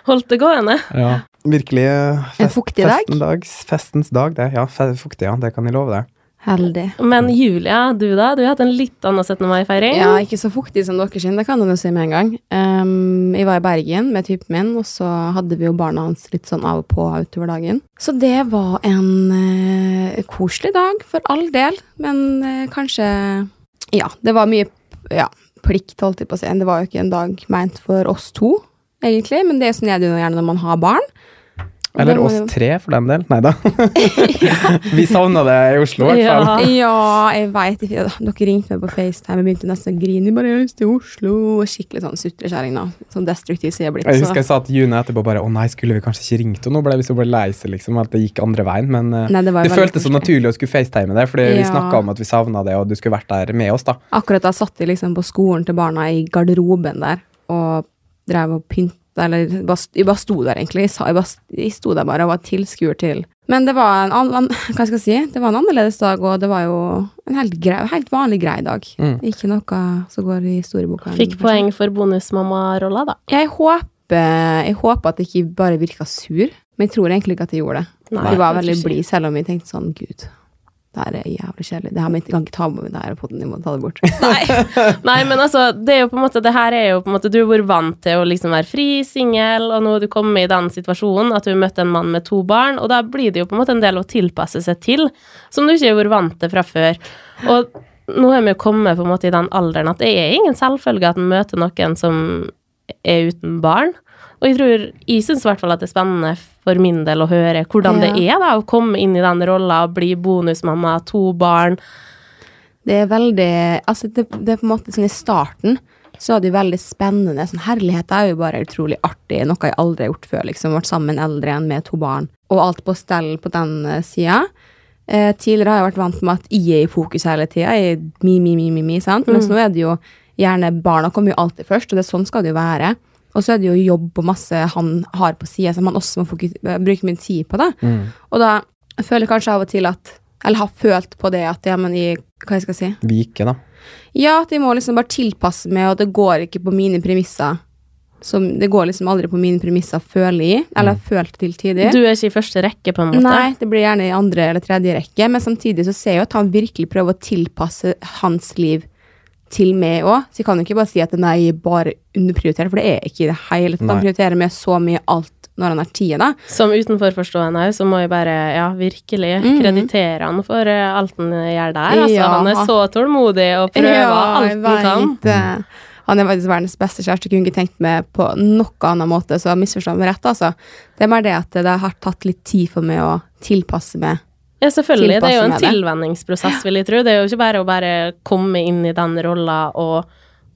holdt det gående.
Ja. Virkelig eh,
En
fest,
fuktig dag?
festen dags- festens dag, det. Ja, fe- fuktig, ja. Det kan jeg love deg.
Heldig.
Men Julia, du da? Du har hatt en litt annen 17. mai-feiring.
Ja, ikke så fuktig som dere sin, det kan jeg jo si med en gang. Ehm, jeg var i Bergen med typen min, og så hadde vi jo barna hans litt sånn av og på utover dagen. Så det var en eh, koselig dag, for all del, men eh, kanskje Ja, det var mye ja, plikt, holdt jeg på å si. Det var jo ikke en dag meint for oss to, egentlig, men det er jo sånn jeg gjør det gjerne når man har barn. Og
Eller
da må
oss
jo-
tre, for den del.
<laughs>
Nei da. Vi savna det i Oslo, i hvert fall.
Ja.
Ja, jeg veit ikke. Dere ringte meg på FaceTime og begynte nesten å grine. Jeg bare, jeg har lyst til Oslo. Og Skikkelig sånn sutrekjerring, da. Sånn destruktiv som jeg er blitt.
Jeg
så-
husker jeg sa til June etterpå bare å nei, skulle vi kanskje ikke ringt henne? Nå ble vi så bare lei seg, liksom, at det gikk andre veien. Men eh,
Nei, det var jo
det
veldig
føltes så
koselig.
naturlig å skulle facetime det, fordi vi
Ja.
snakka om at vi savna det, og du skulle vært der med oss, da.
Akkurat da satt jeg liksom på skolen til barna i garderoben der og drev og pynta, eller bare, st- jeg bare sto der, egentlig. Jeg, sa, jeg, bare, st- jeg sto der bare og var tilskuer til. Men det var en annen, <laughs> hva skal jeg si, det var en annerledes dag, og det var jo en helt, grei, helt vanlig grei dag.
Mm.
Ikke noe som går i historieboka.
Fikk poeng for bonusmamma-rolla, da.
Jeg håper, jeg håper at jeg ikke bare virka sur, men jeg tror egentlig ikke at jeg gjorde det.
Nei,
jeg var
jeg tror
veldig
ikke.
blid, selv om jeg tenkte sånn, gud, det her er jævlig kjedelig. Det her må jeg jeg kan ikke ta med meg det her på den, jeg må ta det bort.
Nei, men altså, det er jo på en måte Det her er jo på en måte Du har vært vant til å liksom være fri, singel, og nå har du kommet i den situasjonen at du har møtt en mann med to barn, og da blir det jo på en måte en del å tilpasse seg til, som du ikke har vært vant til fra før. Og nå har vi jo kommet på en måte i den alderen at det er ingen selvfølge at en møter noen som er uten barn. Og jeg tror, jeg syns i hvert fall at det er spennende for min del å høre hvordan det er da å komme inn i den rolla, bli bonusmamma, to barn.
Det er veldig Altså, det, det er på en måte sånn i starten så er det jo veldig spennende. Sånn herlighet er jo bare utrolig artig. Noe jeg aldri har gjort før. liksom, Vært sammen eldre enn med to barn. Og alt på stell på den eh, sida. Eh, tidligere har jeg vært vant med at jeg er i fokus hele tida. Mi, mi, mi, mi, mi, sant? Mens nå er det jo gjerne barna kommer jo alltid først, og det er sånn skal det jo være. Og så er det jo jobb og masse han har på sida som han også må fokus- eh, bruke mye tid på. da. Og da føler jeg kanskje av og til at Eller har følt på det at ja, men i Hva jeg skal si?
Vike, da.
Ja, at jeg må liksom bare tilpasse meg, og det går ikke på mine premisser. Som, det går liksom aldri på mine premisser, føler jeg. Eller har følt til tider.
Du er ikke i første rekke, på en måte.
Nei, det blir gjerne i andre eller tredje rekke, men samtidig så ser jeg jo at han virkelig prøver å tilpasse hans liv til meg òg. Så jeg kan jo ikke bare si at nei, jeg bare underprioriterer, for det er jeg ikke i det hele tatt.
Nei.
Han prioriterer meg så mye alt når han har tida, da.
Som utenforforstående òg, så må jeg bare ja, virkelig kreditere han for eh, alt han gjør der. Altså,
Mm. Ja.
Han er så tålmodig og prøver alt
jeg
han kan.
vet det. Han er faktisk verdens beste kjæreste. Jeg kunne ikke tenkt meg på noen annen måte, så misforstå meg rett, altså. Det er bare det at det har tatt litt tid for meg å tilpasse meg.
Ja, selvfølgelig. Det er jo en
Tilpasse meg det.
tilvenningsprosess, vil jeg tro. Det er jo ikke bare å bare komme inn i den rolla og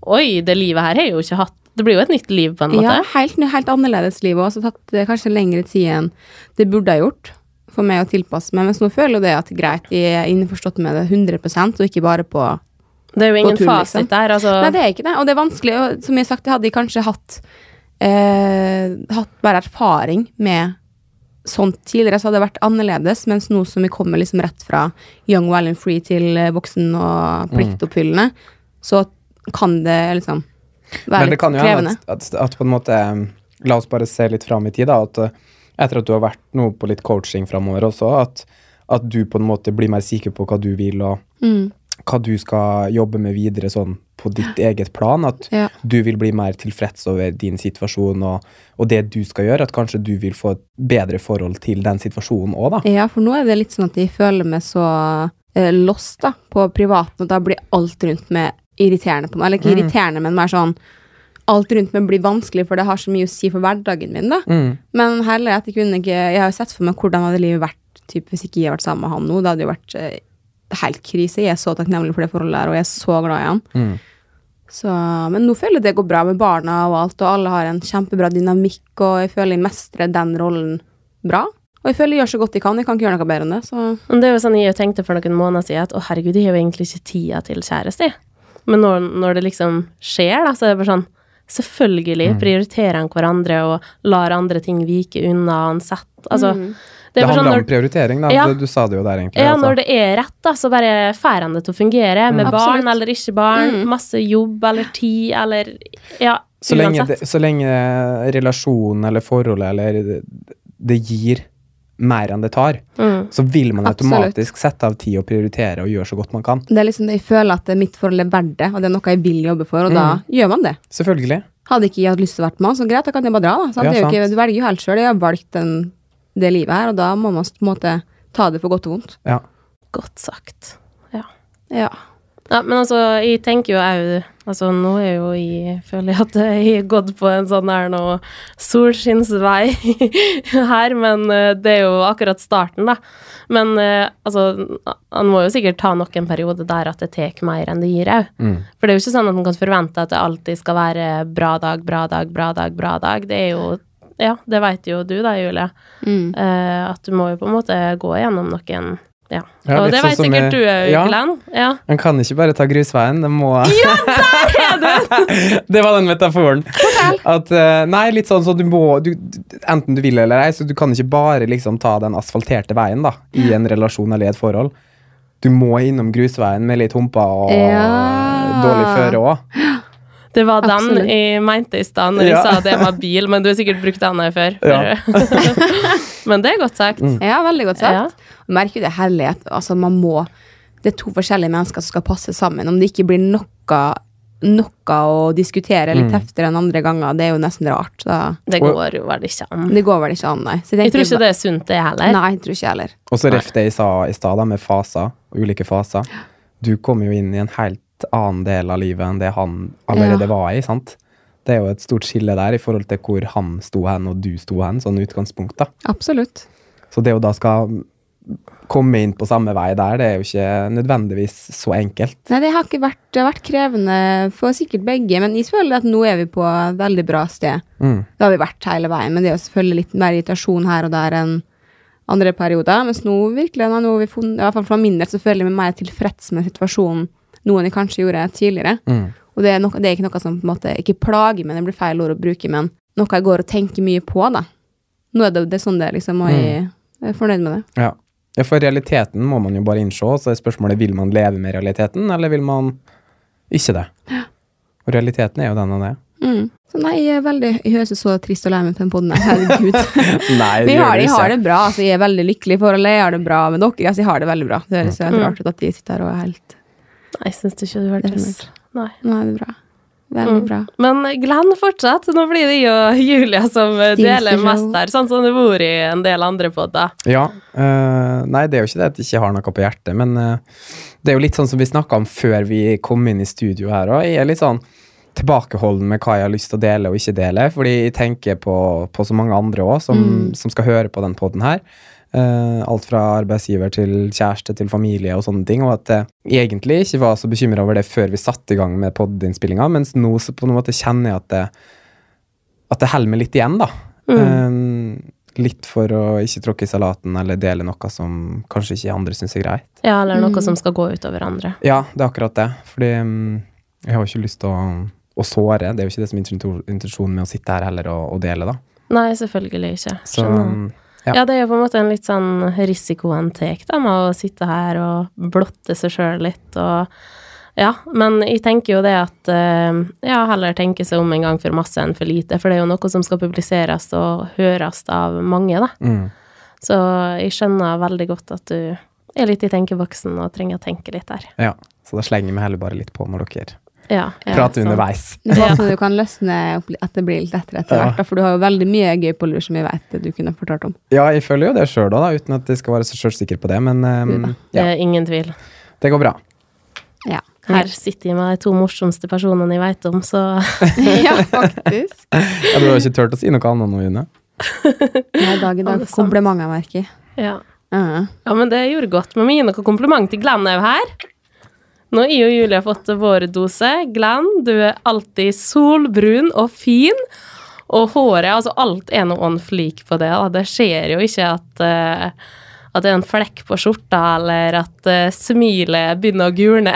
Oi, det livet her har jeg jo ikke hatt Det blir jo et nytt liv, på en måte.
Ja, helt, ny- helt annerledes liv også, så tatt eh, kanskje lengre tid enn det burde ha gjort for meg å tilpasse meg. Mens nå føler jo det at greit, jeg er innforstått med det 100 og ikke bare på
Det er jo ingen
tur,
fasit
liksom.
der, altså.
Nei, det er ikke det. Og det er vanskelig. Og som jeg har sagt, jeg hadde jeg kanskje hatt, eh, hatt bare erfaring med sånt tidligere, så hadde det vært annerledes. Mens nå som vi kommer liksom rett fra young, well and free til eh, voksen
Mm.
og pliktoppfyllende, så kan det liksom være
Men det
litt
kan jo hende
krevende.
at, at, at på en måte um, La oss bare se litt fram i tid, da. At uh, etter at du har vært noe på litt coaching framover også, at, at du på en måte blir mer sikker på hva du vil, og
Mm.
hva du skal jobbe med videre sånn på ditt eget plan. At
Ja.
du vil bli mer tilfreds over din situasjon og, og det du skal gjøre. At kanskje du vil få et bedre forhold til den situasjonen òg, da.
Ja, for nå er det litt sånn at jeg føler meg så eh, lost da, på privaten, og da blir alt rundt meg irriterende på meg. Eller ikke irriterende, men mer sånn Alt rundt meg blir vanskelig, for det har så mye å si for hverdagen min, da.
Mm.
Men heller at jeg kunne ikke Jeg har jo sett for meg hvordan hadde livet vært typ, hvis ikke jeg hadde vært sammen med han nå. Det hadde jo vært eh, helt krise. Jeg er så takknemlig for det forholdet her, og jeg er så glad i han.
Mm.
Så, men nå føler jeg det går bra med barna og alt, og alle har en kjempebra dynamikk, og jeg føler jeg mestrer den rollen bra. Og jeg føler jeg gjør så godt jeg kan. Jeg kan ikke gjøre noe bedre enn det. Så
Men det er jo sånn jeg tenkte for noen måneder siden at å herregud, jeg har jo egentlig ikke tida til kjæreste. jeg». Men når, når det liksom skjer, da, så er det bare sånn Selvfølgelig
Mm.
prioriterer han hverandre og lar andre ting vike unna uansett. Altså,
Mm.
det
Det
er bare sånn
handler om
når,
prioritering, da.
Ja.
Du, du sa det jo der, egentlig.
ja,
altså. Mm.
når det er rett, da, så bare får han det til å fungere. Med
Absolutt.
barn eller ikke barn, masse jobb eller tid eller Ja,
Så lenge,
uansett.
det, så lenge relasjonen eller forholdet eller det, det gir mer enn det tar,
Mm.
så vil man
Absolutt.
automatisk sette av tid og prioritere og gjøre så godt man kan.
det er liksom det jeg føler at det er mitt forhold er verdt det, og det er noe jeg vil jobbe for, og da gjør man det.
Selvfølgelig.
Hadde ikke jeg hatt lyst til å være med han, så greit, da kan jeg bare dra, da. Sant? det
Ja,
er jo ikke,
sant.
du velger jo helt sjøl. Jeg har valgt den, det livet her, og da må man på en måte ta det for godt og vondt.
Ja.
Godt sagt. Ja.
Ja.
Ja, men altså, jeg tenker jo òg Altså, nå er jo jeg Føler jeg at jeg har gått på en sånn her nå solskinnsvei <laughs> her, men eh, det er jo akkurat starten, da. Men eh, altså, han må jo sikkert ta nok en periode der at det tar mer enn det gir òg.
Mm.
For det er jo ikke sånn at man kan forvente at det alltid skal være bra dag, bra dag, bra dag, bra dag. Det er jo Ja, det veit jo du da, Julie,
Mm.
eh, at du må jo på en måte gå gjennom noen Ja.
Ja,
Og
litt
det
sånn
veit
som
sikkert
i-
du òg,
Ja.
Glenn. Ja.
Man kan ikke bare ta grusveien, det må Det var den metaforen. At, eh, nei, litt sånn så du må du, du- Enten du vil eller ei, så du kan ikke bare liksom ta den asfalterte veien da, i en relasjon eller i et forhold. Du må innom grusveien med litt humper og
Ja.
dårlig føre òg.
Det var den
Absolutt.
jeg mente i stad når
Ja.
jeg sa det var bil, men du har sikkert brukt den her før.
Ja.
<laughs> men
Mm.
det er godt sagt.
Ja, veldig godt sagt. Og Merker jo det herlighet. Altså, man må Det er to forskjellige mennesker som skal passe sammen. Om det ikke blir noe, noe å diskutere litt heftigere enn andre ganger, det er jo nesten rart. Da.
Det går jo vel ikke an.
Det går vel ikke an, nei. Så
Jeg tror ikke det er sunt, det heller.
Nei, jeg tror ikke jeg heller.
Og så ref det jeg sa i stad, da, med faser, ulike faser. Du kommer jo inn i en helt annen del av livet enn det han allerede
Ja.
var i. sant? Det er jo et stort skille der i forhold til hvor han sto hen og du sto hen, sånn utgangspunkt. da.
Absolutt.
Så det å da skal komme inn på samme vei der, det er jo ikke nødvendigvis så enkelt.
Nei, det har ikke vært, det har vært krevende for sikkert begge, men jeg føler at nå er vi på et veldig bra sted.
Mm.
Det har vi vært hele veien, men det er jo selvfølgelig litt mer irritasjon her og der enn andre perioder. Mens nå virkelig, nå har vi funnet, i hvert fall for min del, så føler jeg meg mer tilfreds med situasjonen nå enn jeg kanskje gjorde tidligere.
Mm.
Og det er, noe- det er ikke noe som på en måte, ikke plager, men det blir feil ord å bruke, men noe jeg går og tenker mye på, da. Nå er det, det er sånn det er, liksom, og jeg, jeg er fornøyd med det.
Ja. ja, for realiteten må man jo bare innse, og så er spørsmålet vil man leve med realiteten, eller vil man ikke det? Og realiteten er jo den den er.
Mm. Så nei, jeg er veldig, jeg høres jo så trist og lei meg på den podden, her, herregud.
Nei,
Men <laughs> jeg har, jeg har det bra, altså, jeg er veldig lykkelig i forholdet, jeg har det bra med dere, altså, jeg har det veldig bra. Det høres jo helt rart ut at de sitter her og er helt,
Nei, jeg syns ikke det
Det er
hørtes
for
Nei.
nå er det bra. Veldig
Mm.
bra.
Men Glenn, fortsett. Nå blir det jo Julia som eh,
Stinser
deler
show.
mest her, sånn som det har vært i en del andre podder.
Ja. eh, nei, det er jo ikke det at jeg ikke har noe på hjertet, men eh, det er jo litt sånn som vi snakka om før vi kom inn i studio her òg. Jeg er litt sånn tilbakeholden med hva jeg har lyst til å dele og ikke dele, fordi jeg tenker på, på så mange andre òg som, som skal høre på den poden her. Eh, alt fra arbeidsgiver til kjæreste til familie og sånne ting. Og at jeg egentlig ikke var så bekymra over det før vi satte i gang med podinnspillinga, mens nå så på en måte kjenner jeg at det, at det holder meg litt igjen, da. Eh, litt for å ikke tråkke i salaten eller dele noe som kanskje ikke andre syns er greit.
Ja, eller noe som skal gå utover andre.
Ja, det er akkurat det. Fordi mm, jeg har jo ikke lyst til å, å såre. Det er jo ikke det som er intento- intensjonen med å sitte her heller og, og dele, da.
Nei, selvfølgelig ikke.
Så
Skjønner.
mm,
Ja.
ja.
det er jo på en måte en litt sånn risiko en tar da, med å sitte her og blotte seg sjøl litt og Ja, men jeg tenker jo det at eh, Ja, heller tenke seg om en gang for masse enn for lite, for det er jo noe som skal publiseres og høres av mange, da.
mm,
Så jeg skjønner veldig godt at du er litt i tenkeboksen og trenger å tenke litt der.
ja. Så da slenger vi heller bare litt på når dere
Ja.
prater
sånn.
underveis.
Det er sånn at du kan løsne opp li- at det blir litt lettere etter
Ja.
hvert, da, for du har jo veldig mye gøy på lur som jeg vet du kunne fortalt om.
Ja, jeg føler jo det sjøl òg, da, uten at jeg skal være så sjølsikker på det, men mm,
Det
ja,
er ingen tvil.
det går bra.
Ja.
Her sitter jeg med de to morsomste personene jeg veit om, så
<laughs>
<laughs>
ja, <laughs> faktisk.
Ja, du har ikke turt å si noe annet nå, June?
Nei, dag i
Ja,
dag
det er
for komplimenter, merker jeg.
ja.
Ja.
Ja, men det gjorde godt. Men vi gir noen kompliment til Glenn er jo her. Nå har jeg og Julie fått vår dose. Glenn, du er alltid solbrun og fin. Og håret, altså alt er noe on fleak på det. Da. Det skjer jo ikke at, eh, at det er en flekk på skjorta, eller at eh, smilet begynner å gulne.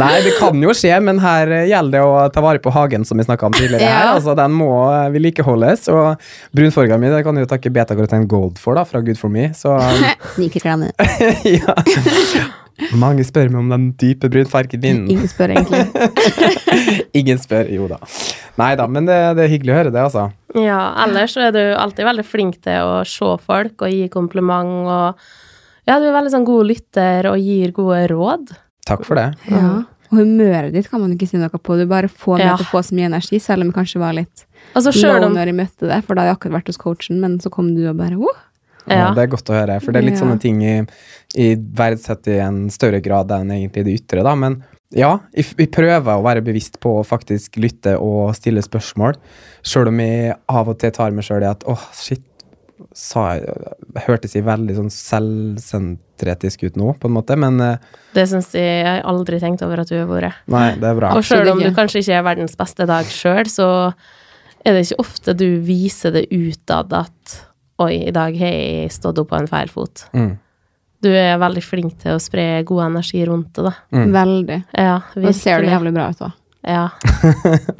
Nei, det kan jo skje, men her eh, gjelder det å ta vare på hagen, som vi snakka om tidligere. her.
Ja.
Altså, Den må eh, vedlikeholdes. Og brunfarga mi det kan jeg jo takke betakaroten gold for, da, fra Good for me. Så
Snikerklemme.
<laughs> ja. Mange spør meg om den dype brunfargen min.
Mm.
Ingen spør egentlig.
Ingen spør. Jo da. Nei da, men det, det er hyggelig å høre det, altså.
<laughs> Ja, ellers så er du alltid veldig flink til å se folk og gi kompliment og Ja, du er veldig sånn god lytter og gir gode råd.
Takk for det.
<laughs> Ja. Og humøret ditt kan man ikke si noe på. Du bare får meg
Ja.
til å få så mye energi, selv om jeg kanskje var litt
Altså, selv
low
om
når jeg møtte deg, for da hadde jeg akkurat vært hos coachen, men så kom du og bare oh.
Ja.
Og det er godt å høre, for det er litt
Ja.
sånne ting jeg, jeg verdsetter i en større grad enn egentlig det ytre, da. Men ja, jeg, f- jeg prøver å være bevisst på å faktisk lytte og stille spørsmål, sjøl om jeg av og til tar meg sjøl i at åh, shit, sa jeg, hørtes jeg veldig sånn selvsentretisk ut nå, på en måte, men eh,
Det syns jeg jeg aldri tenkt over at du har vært.
nei, det er bra.
Og sjøl om du
ikke.
kanskje ikke er verdens beste dag sjøl, så er det ikke ofte du viser det utad at Oi, i dag har jeg stått opp på en feil fot.
Mm.
Du er veldig flink til å spre god energi rundt det, da.
Mm.
Veldig.
Ja,
Nå ser du
virkelig.
jævlig bra ut òg.
Ja,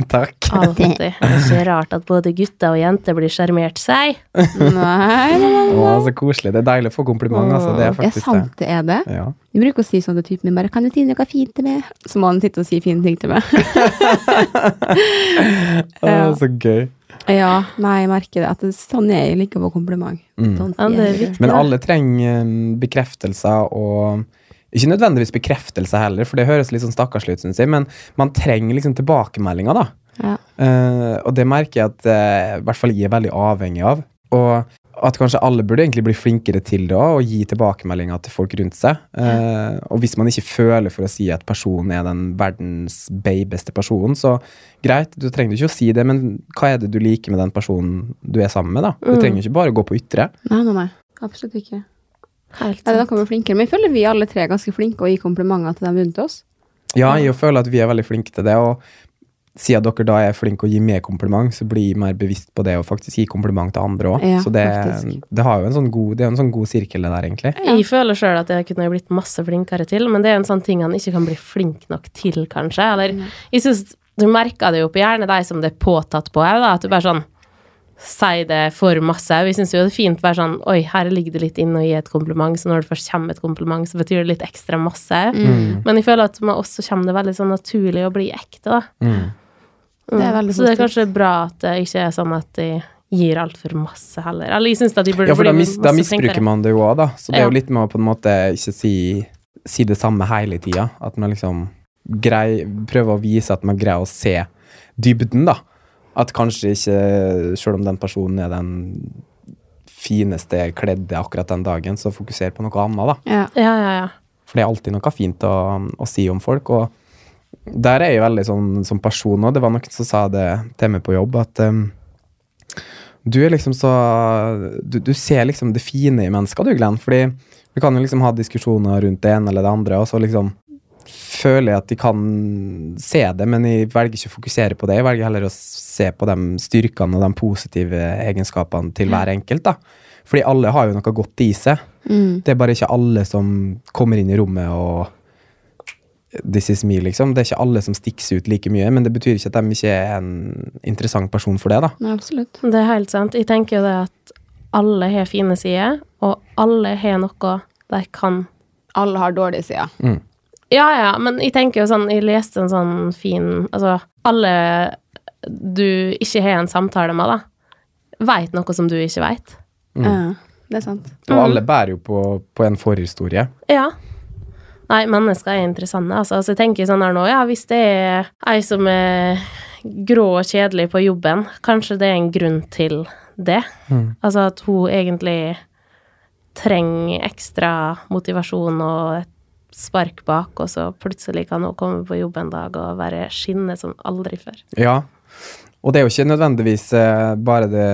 Takk.
alltid. <laughs> Det er ikke rart at både gutter og jenter blir sjarmert seg.
Nei, nei, nei.
Å, så koselig. Det er deilig å få kompliment, altså. Det er
Ja,
faktisk det.
sant det er det.
Ja.
Du bruker å si sånn til typen min bare 'Kan du si noe fint til meg?' Så må han sitte og si fine ting til meg. <laughs>
Å,
Ja.
så gøy.
ja, nei, jeg merker det. At det, sånn er jeg liker å få kompliment.
Mm.
Sånn
Ja, det er
jeg.
viktig.
Men
Ja.
alle trenger eh, bekreftelser og ikke nødvendigvis bekreftelse heller, for det høres litt sånn stakkarslig ut, syns jeg, men man trenger liksom tilbakemeldinger, da.
Ja.
Eh, og det merker jeg at eh, i hvert fall jeg er veldig avhengig av. Og at kanskje alle burde egentlig bli flinkere til det også, og gi tilbakemeldinger til folk rundt seg. Eh, og hvis man ikke føler for å si at personen er den verdens babeste personen, så greit, du trenger ikke å si det, men hva er det du liker med den personen du er sammen med, da? Du trenger ikke bare gå på ytre.
Nei, nei, nei. Absolutt ikke.
Helt
Nei, da
sant.
kan vi bli flinkere. Men jeg føler vi alle tre er ganske flinke å gi komplimenter til dem rundt oss.
Ja, jeg føler at vi er veldig flinke til det, og siden dere da er flinke å gi meg kompliment, så bli mer bevisst på det og faktisk gi kompliment til andre òg.
Ja,
så det,
faktisk.
det, har jo en sånn god, det er jo en sånn god sirkel, det der, egentlig.
Ja.
Jeg føler sjøl at jeg kunne blitt masse flinkere til, men det er en sånn ting han ikke kan bli flink nok til, kanskje. Eller
Mm.
jeg synes du merker det jo på hjernen, de som det er påtatt på òg, at du bare sånn sier det for masse. Vi syns jo det er fint å være sånn Oi, her ligger det litt inne å gi et kompliment, så når det først kommer et kompliment, så betyr det litt ekstra masse.
Mm.
Mm.
Men jeg føler at med oss så kommer det veldig sånn naturlig å bli ekte, da. Mm.
Mm.
Det er veldig
så det er
positivt.
kanskje bra at det ikke er sånn at de gir altfor masse heller. Eller jeg syns at de burde
Ja, for da,
bli
mis, da
masse
misbruker
flinkere.
man det jo òg, da. Så det er jo
Ja.
litt med å på en måte ikke si, si det samme hele tida. At man liksom grei, prøver å vise at man greier å se dybden, da. At kanskje ikke, sjøl om den personen er den fineste kledde akkurat den dagen, så fokuser på noe annet, da.
Ja.
Ja, ja, ja.
For det er alltid noe fint å, å si om folk. Og der er jeg veldig sånn som person òg. Det var noen som sa det til meg på jobb, at ehm, du er liksom så du, du ser liksom det fine i mennesker, du, Glenn. Fordi vi kan jo liksom ha diskusjoner rundt det ene eller det andre, og så liksom føler jeg at de kan se det, men jeg velger ikke å fokusere på det. Jeg velger heller å se på de styrkene og de positive egenskapene til hver enkelt, da. Fordi alle har jo noe godt i seg.
Mm.
Det er bare ikke alle som kommer inn i rommet og This is me, liksom. Det er ikke alle som stikkes ut like mye, men det betyr ikke at de ikke er en interessant person for det, da.
Nei, absolutt.
Det er helt sant. Jeg tenker jo det at alle har fine sider, og alle har noe de kan
Alle har dårlige sider.
Mm.
Ja, ja, men jeg tenker jo sånn Jeg leste en sånn fin Altså, alle du ikke har en samtale med, da, veit noe som du ikke veit.
Mm.
Ja, det er sant.
Og alle bærer jo på, på en forhistorie.
Ja. Nei, mennesker er interessante, altså. Så jeg tenker sånn her nå, ja, hvis det er ei som er grå og kjedelig på jobben, kanskje det er en grunn til det. Altså at hun egentlig trenger ekstra motivasjon og et spark bak, og så plutselig kan hun komme på jobb en dag og være skinne som aldri før.
Ja. Og det er jo ikke nødvendigvis eh, bare det,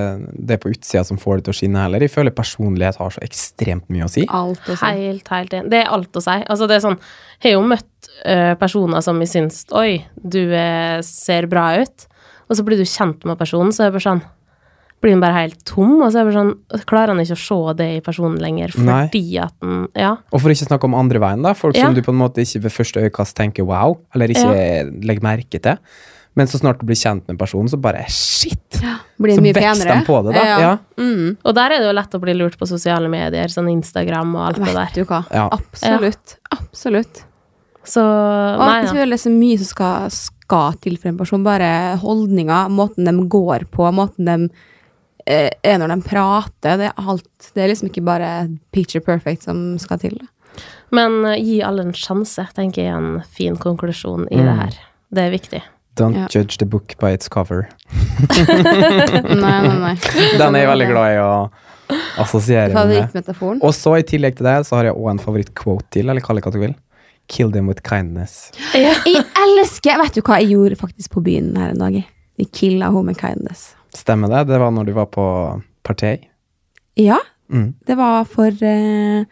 det på utsida som får det til å skinne heller. Jeg føler personlighet har så ekstremt mye å si.
Alt og sånn.
Helt, helt enig. Det er alt å si. Altså, det er sånn Jeg har jo møtt eh, personer som jeg syns Oi, du eh, ser bra ut. Og så blir du kjent med personen, så er det bare sånn blir den bare helt tom, og så er det bare sånn, klarer han ikke å se det i personen lenger
Nei.
fordi at den Ja.
Og for ikke å snakke om andre veien, da. Folk
Ja.
som du på en måte ikke ved første øyekast tenker wow, eller ikke legger merke til. Men så snart du blir kjent med personen, så bare shit!
Blir
så
mye
vokser
penere.
de på det, da.
Ja.
Ja.
Mm.
Og der er det jo lett å bli lurt på sosiale medier, sånn Instagram og alt det
Vet
der.
du hva.
Ja.
Absolutt. Absolutt.
Så
Og
nei,
jeg
ja.
føler det er så mye som skal, skal til for en person. Bare holdninger, måten de går på, måten de eh, er når de prater. Det er alt. Det er liksom ikke bare picture perfect som skal
<laughs>
til. da.
Men eh, gi alle en sjanse, tenker jeg er en fin konklusjon i
Mm.
det her. Det er viktig.
Don't
Ja.
judge the book by its cover.
Nei, nei, nei.
Den er jeg veldig glad i å assosiere med.
Favorittmetaforen.
Og så i tillegg til det, så har jeg òg en favorittquote til, eller kall det hva du vil. Kill them with kindness.
Jeg elsker Vet du hva jeg gjorde faktisk på byen her en dag? Vi killa henne med kindness.
Stemmer det? Det var når du var på partei.
Ja,
Mm.
Det var for eh,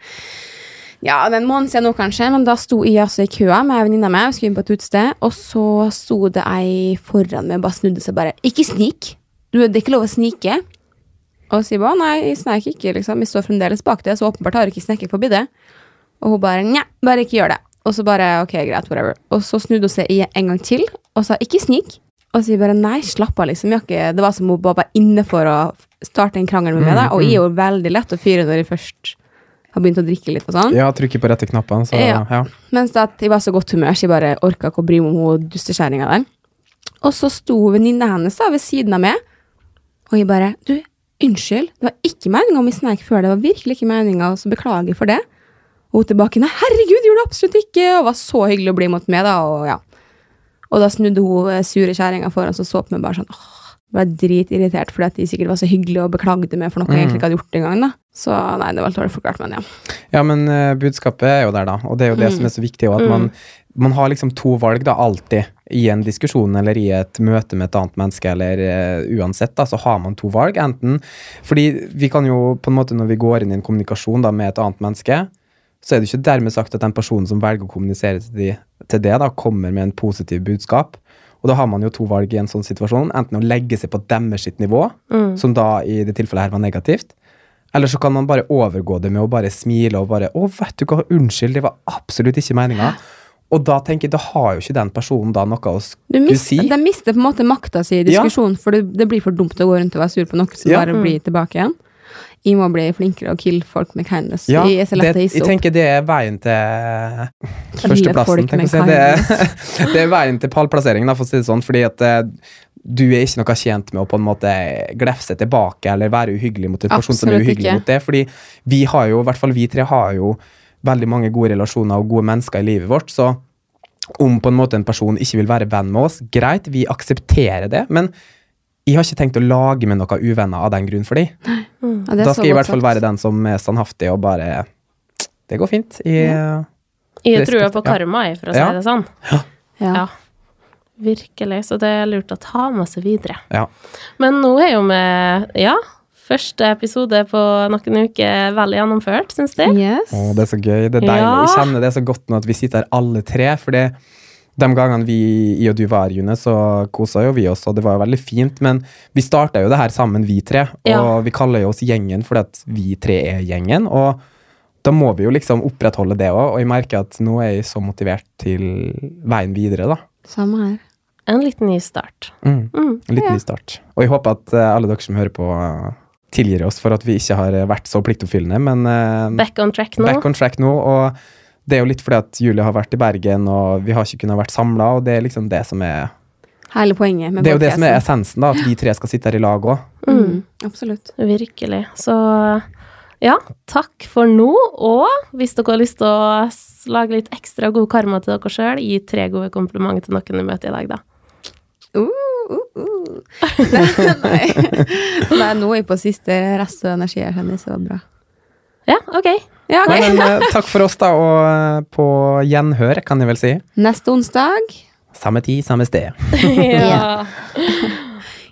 Ja, det er en måned siden nå, kanskje, men da sto jeg altså i køa med ei venninne av meg. Vi skulle inn på et utested, og så sto det ei foran meg og bare snudde seg bare. Ikke snik! Du, det er ikke lov å snike. Og så sier jeg bare nei, jeg sneik ikke, liksom. Jeg står fremdeles bak det, så åpenbart har jeg ikke sneket forbi det. Og hun bare nja, bare ikke gjør det. Og så bare ok, greit, whatever. Og så snudde hun seg i- en gang til og sa ikke snik. Og så sier jeg bare nei, slapp av, liksom. Jeg har ikke, det var som om hun bare var inne for å starte en krangel med meg. Da. Og jeg er jo veldig lett å fyre når jeg først har begynt å drikke litt og sånn.
Ja, trykker på rette knappene, så ja.
Ja. Mens det at jeg var så godt humør, så jeg bare orka ikke å bry meg om hun dustekjerringa der. Og så sto venninna hennes da ved siden av meg, og jeg bare Du, unnskyld, det var ikke meninga om vi sneik før, det var virkelig ikke meninga, så beklager for det. Og hun tilbake Nei, herregud, gjorde det absolutt ikke! Og var så hyggelig å bli mot meg, da, og ja. Og da snudde hun eh, sure kjerringa foran og så på meg bare sånn åh, ble dritirritert fordi at de sikkert var så hyggelige og beklagde meg for noe jeg egentlig ikke hadde gjort engang, da. Så nei, det var litt dårlig forklart, men ja.
Ja, men eh, budskapet er jo der, da. Og det er jo det som er så viktig. også, At man, man har liksom to valg da, alltid. I en diskusjon eller i et møte med et annet menneske, eller eh, uansett, da, så har man to valg. Enten Fordi vi kan jo, på en måte når vi går inn i en kommunikasjon da, med et annet menneske, så er det jo ikke dermed sagt at den personen som velger å kommunisere til, de, til det, da, kommer med en positiv budskap. Og da har man jo to valg i en sånn situasjon. Enten å legge seg på deres sitt nivå, som da i det tilfellet her var negativt. Eller så kan man bare overgå det med å bare smile og bare 'Å, vet du hva, unnskyld, det var absolutt ikke meninga'. Og da tenker jeg, da har jo ikke den personen da noe å
Du
skulle
mister,
si.
De mister på en måte makta si i diskusjonen, for det, det blir for dumt å gå rundt og være sur på noe som
Ja.
bare blir tilbake igjen. Jeg må bli flinkere å kille folk med kindness.
Ja,
jeg er så lett
det,
å
jeg
hisse opp.
tenker det er veien til
folk
førsteplassen. tenker
med
jeg å si. Det, er- <laughs> det er veien til pallplasseringen, da, for å si det sånn. Fordi at eh, du er ikke noe tjent med å på en måte glefse tilbake eller være uhyggelig mot en person som er
Absolutt
uhyggelig
ikke.
mot det. Fordi vi har jo, i hvert fall vi tre, har jo veldig mange gode relasjoner og gode mennesker i livet vårt. Så om på en måte en person ikke vil være venn med oss, greit, vi aksepterer det. men jeg har ikke tenkt å lage meg noen uvenner av den grunn for dem.
Ja, det er
Da
så
skal jeg i
godt
hvert fall
sagt.
være den som er standhaftig og bare Det går fint. Jeg,
Jeg tror på
Ja.
karma, jeg, for å si
Ja.
det sånn.
Ja.
Ja. Virkelig. Så det er lurt å ta med seg videre.
ja.
Men nå er jo vi Ja, første episode på noen uker vel gjennomført, syns jeg.
Yes.
Å, det er så gøy. Det er deilig.
Ja.
Jeg kjenner det så godt nå at vi sitter her alle tre. For det, de gangene vi jeg og du var her, June, så kosa jo vi oss, og det var jo veldig fint. Men vi starta jo det her sammen, vi tre. Og
Ja.
vi kaller jo oss Gjengen fordi at vi tre er gjengen. Og da må vi jo liksom opprettholde det òg. Og jeg merker at nå er jeg så motivert til veien videre, da.
Samme her.
En liten ny start.
Mm.
Mm.
En liten ny start. Og jeg håper at eh, alle dere som hører på, eh, tilgir oss for at vi ikke har eh, vært så pliktoppfyllende, men eh,
Back on track nå.
back on track nå. Og det er jo litt fordi at Julie har vært i Bergen, og vi har ikke kunnet vært samla. Og det er liksom det som er
Hele poenget med
Det er jo det som er
podcasten.
essensen, da. At vi tre skal sitte her i lag òg.
Mm. Absolutt.
Virkelig. Så ja, takk for nå. Og hvis dere har lyst til å s- lage litt ekstra god karma til dere sjøl, gi tre gode komplimenter til noen du møter i dag, da.
Uh, uh, uh. <laughs> Nei. <laughs> Nei, nå er jeg på siste rest av energi jeg kjenner, så det var bra.
Ja, OK. <laughs>
Ja, ok.
Nei, men eh, takk for oss, da. Og eh, på gjenhør, kan jeg vel si.
Neste onsdag.
Samme tid, samme sted.
ja.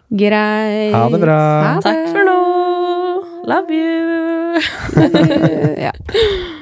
Greit.
Ha det bra.
Ha det.
Takk for nå. Love you.
<laughs> ja.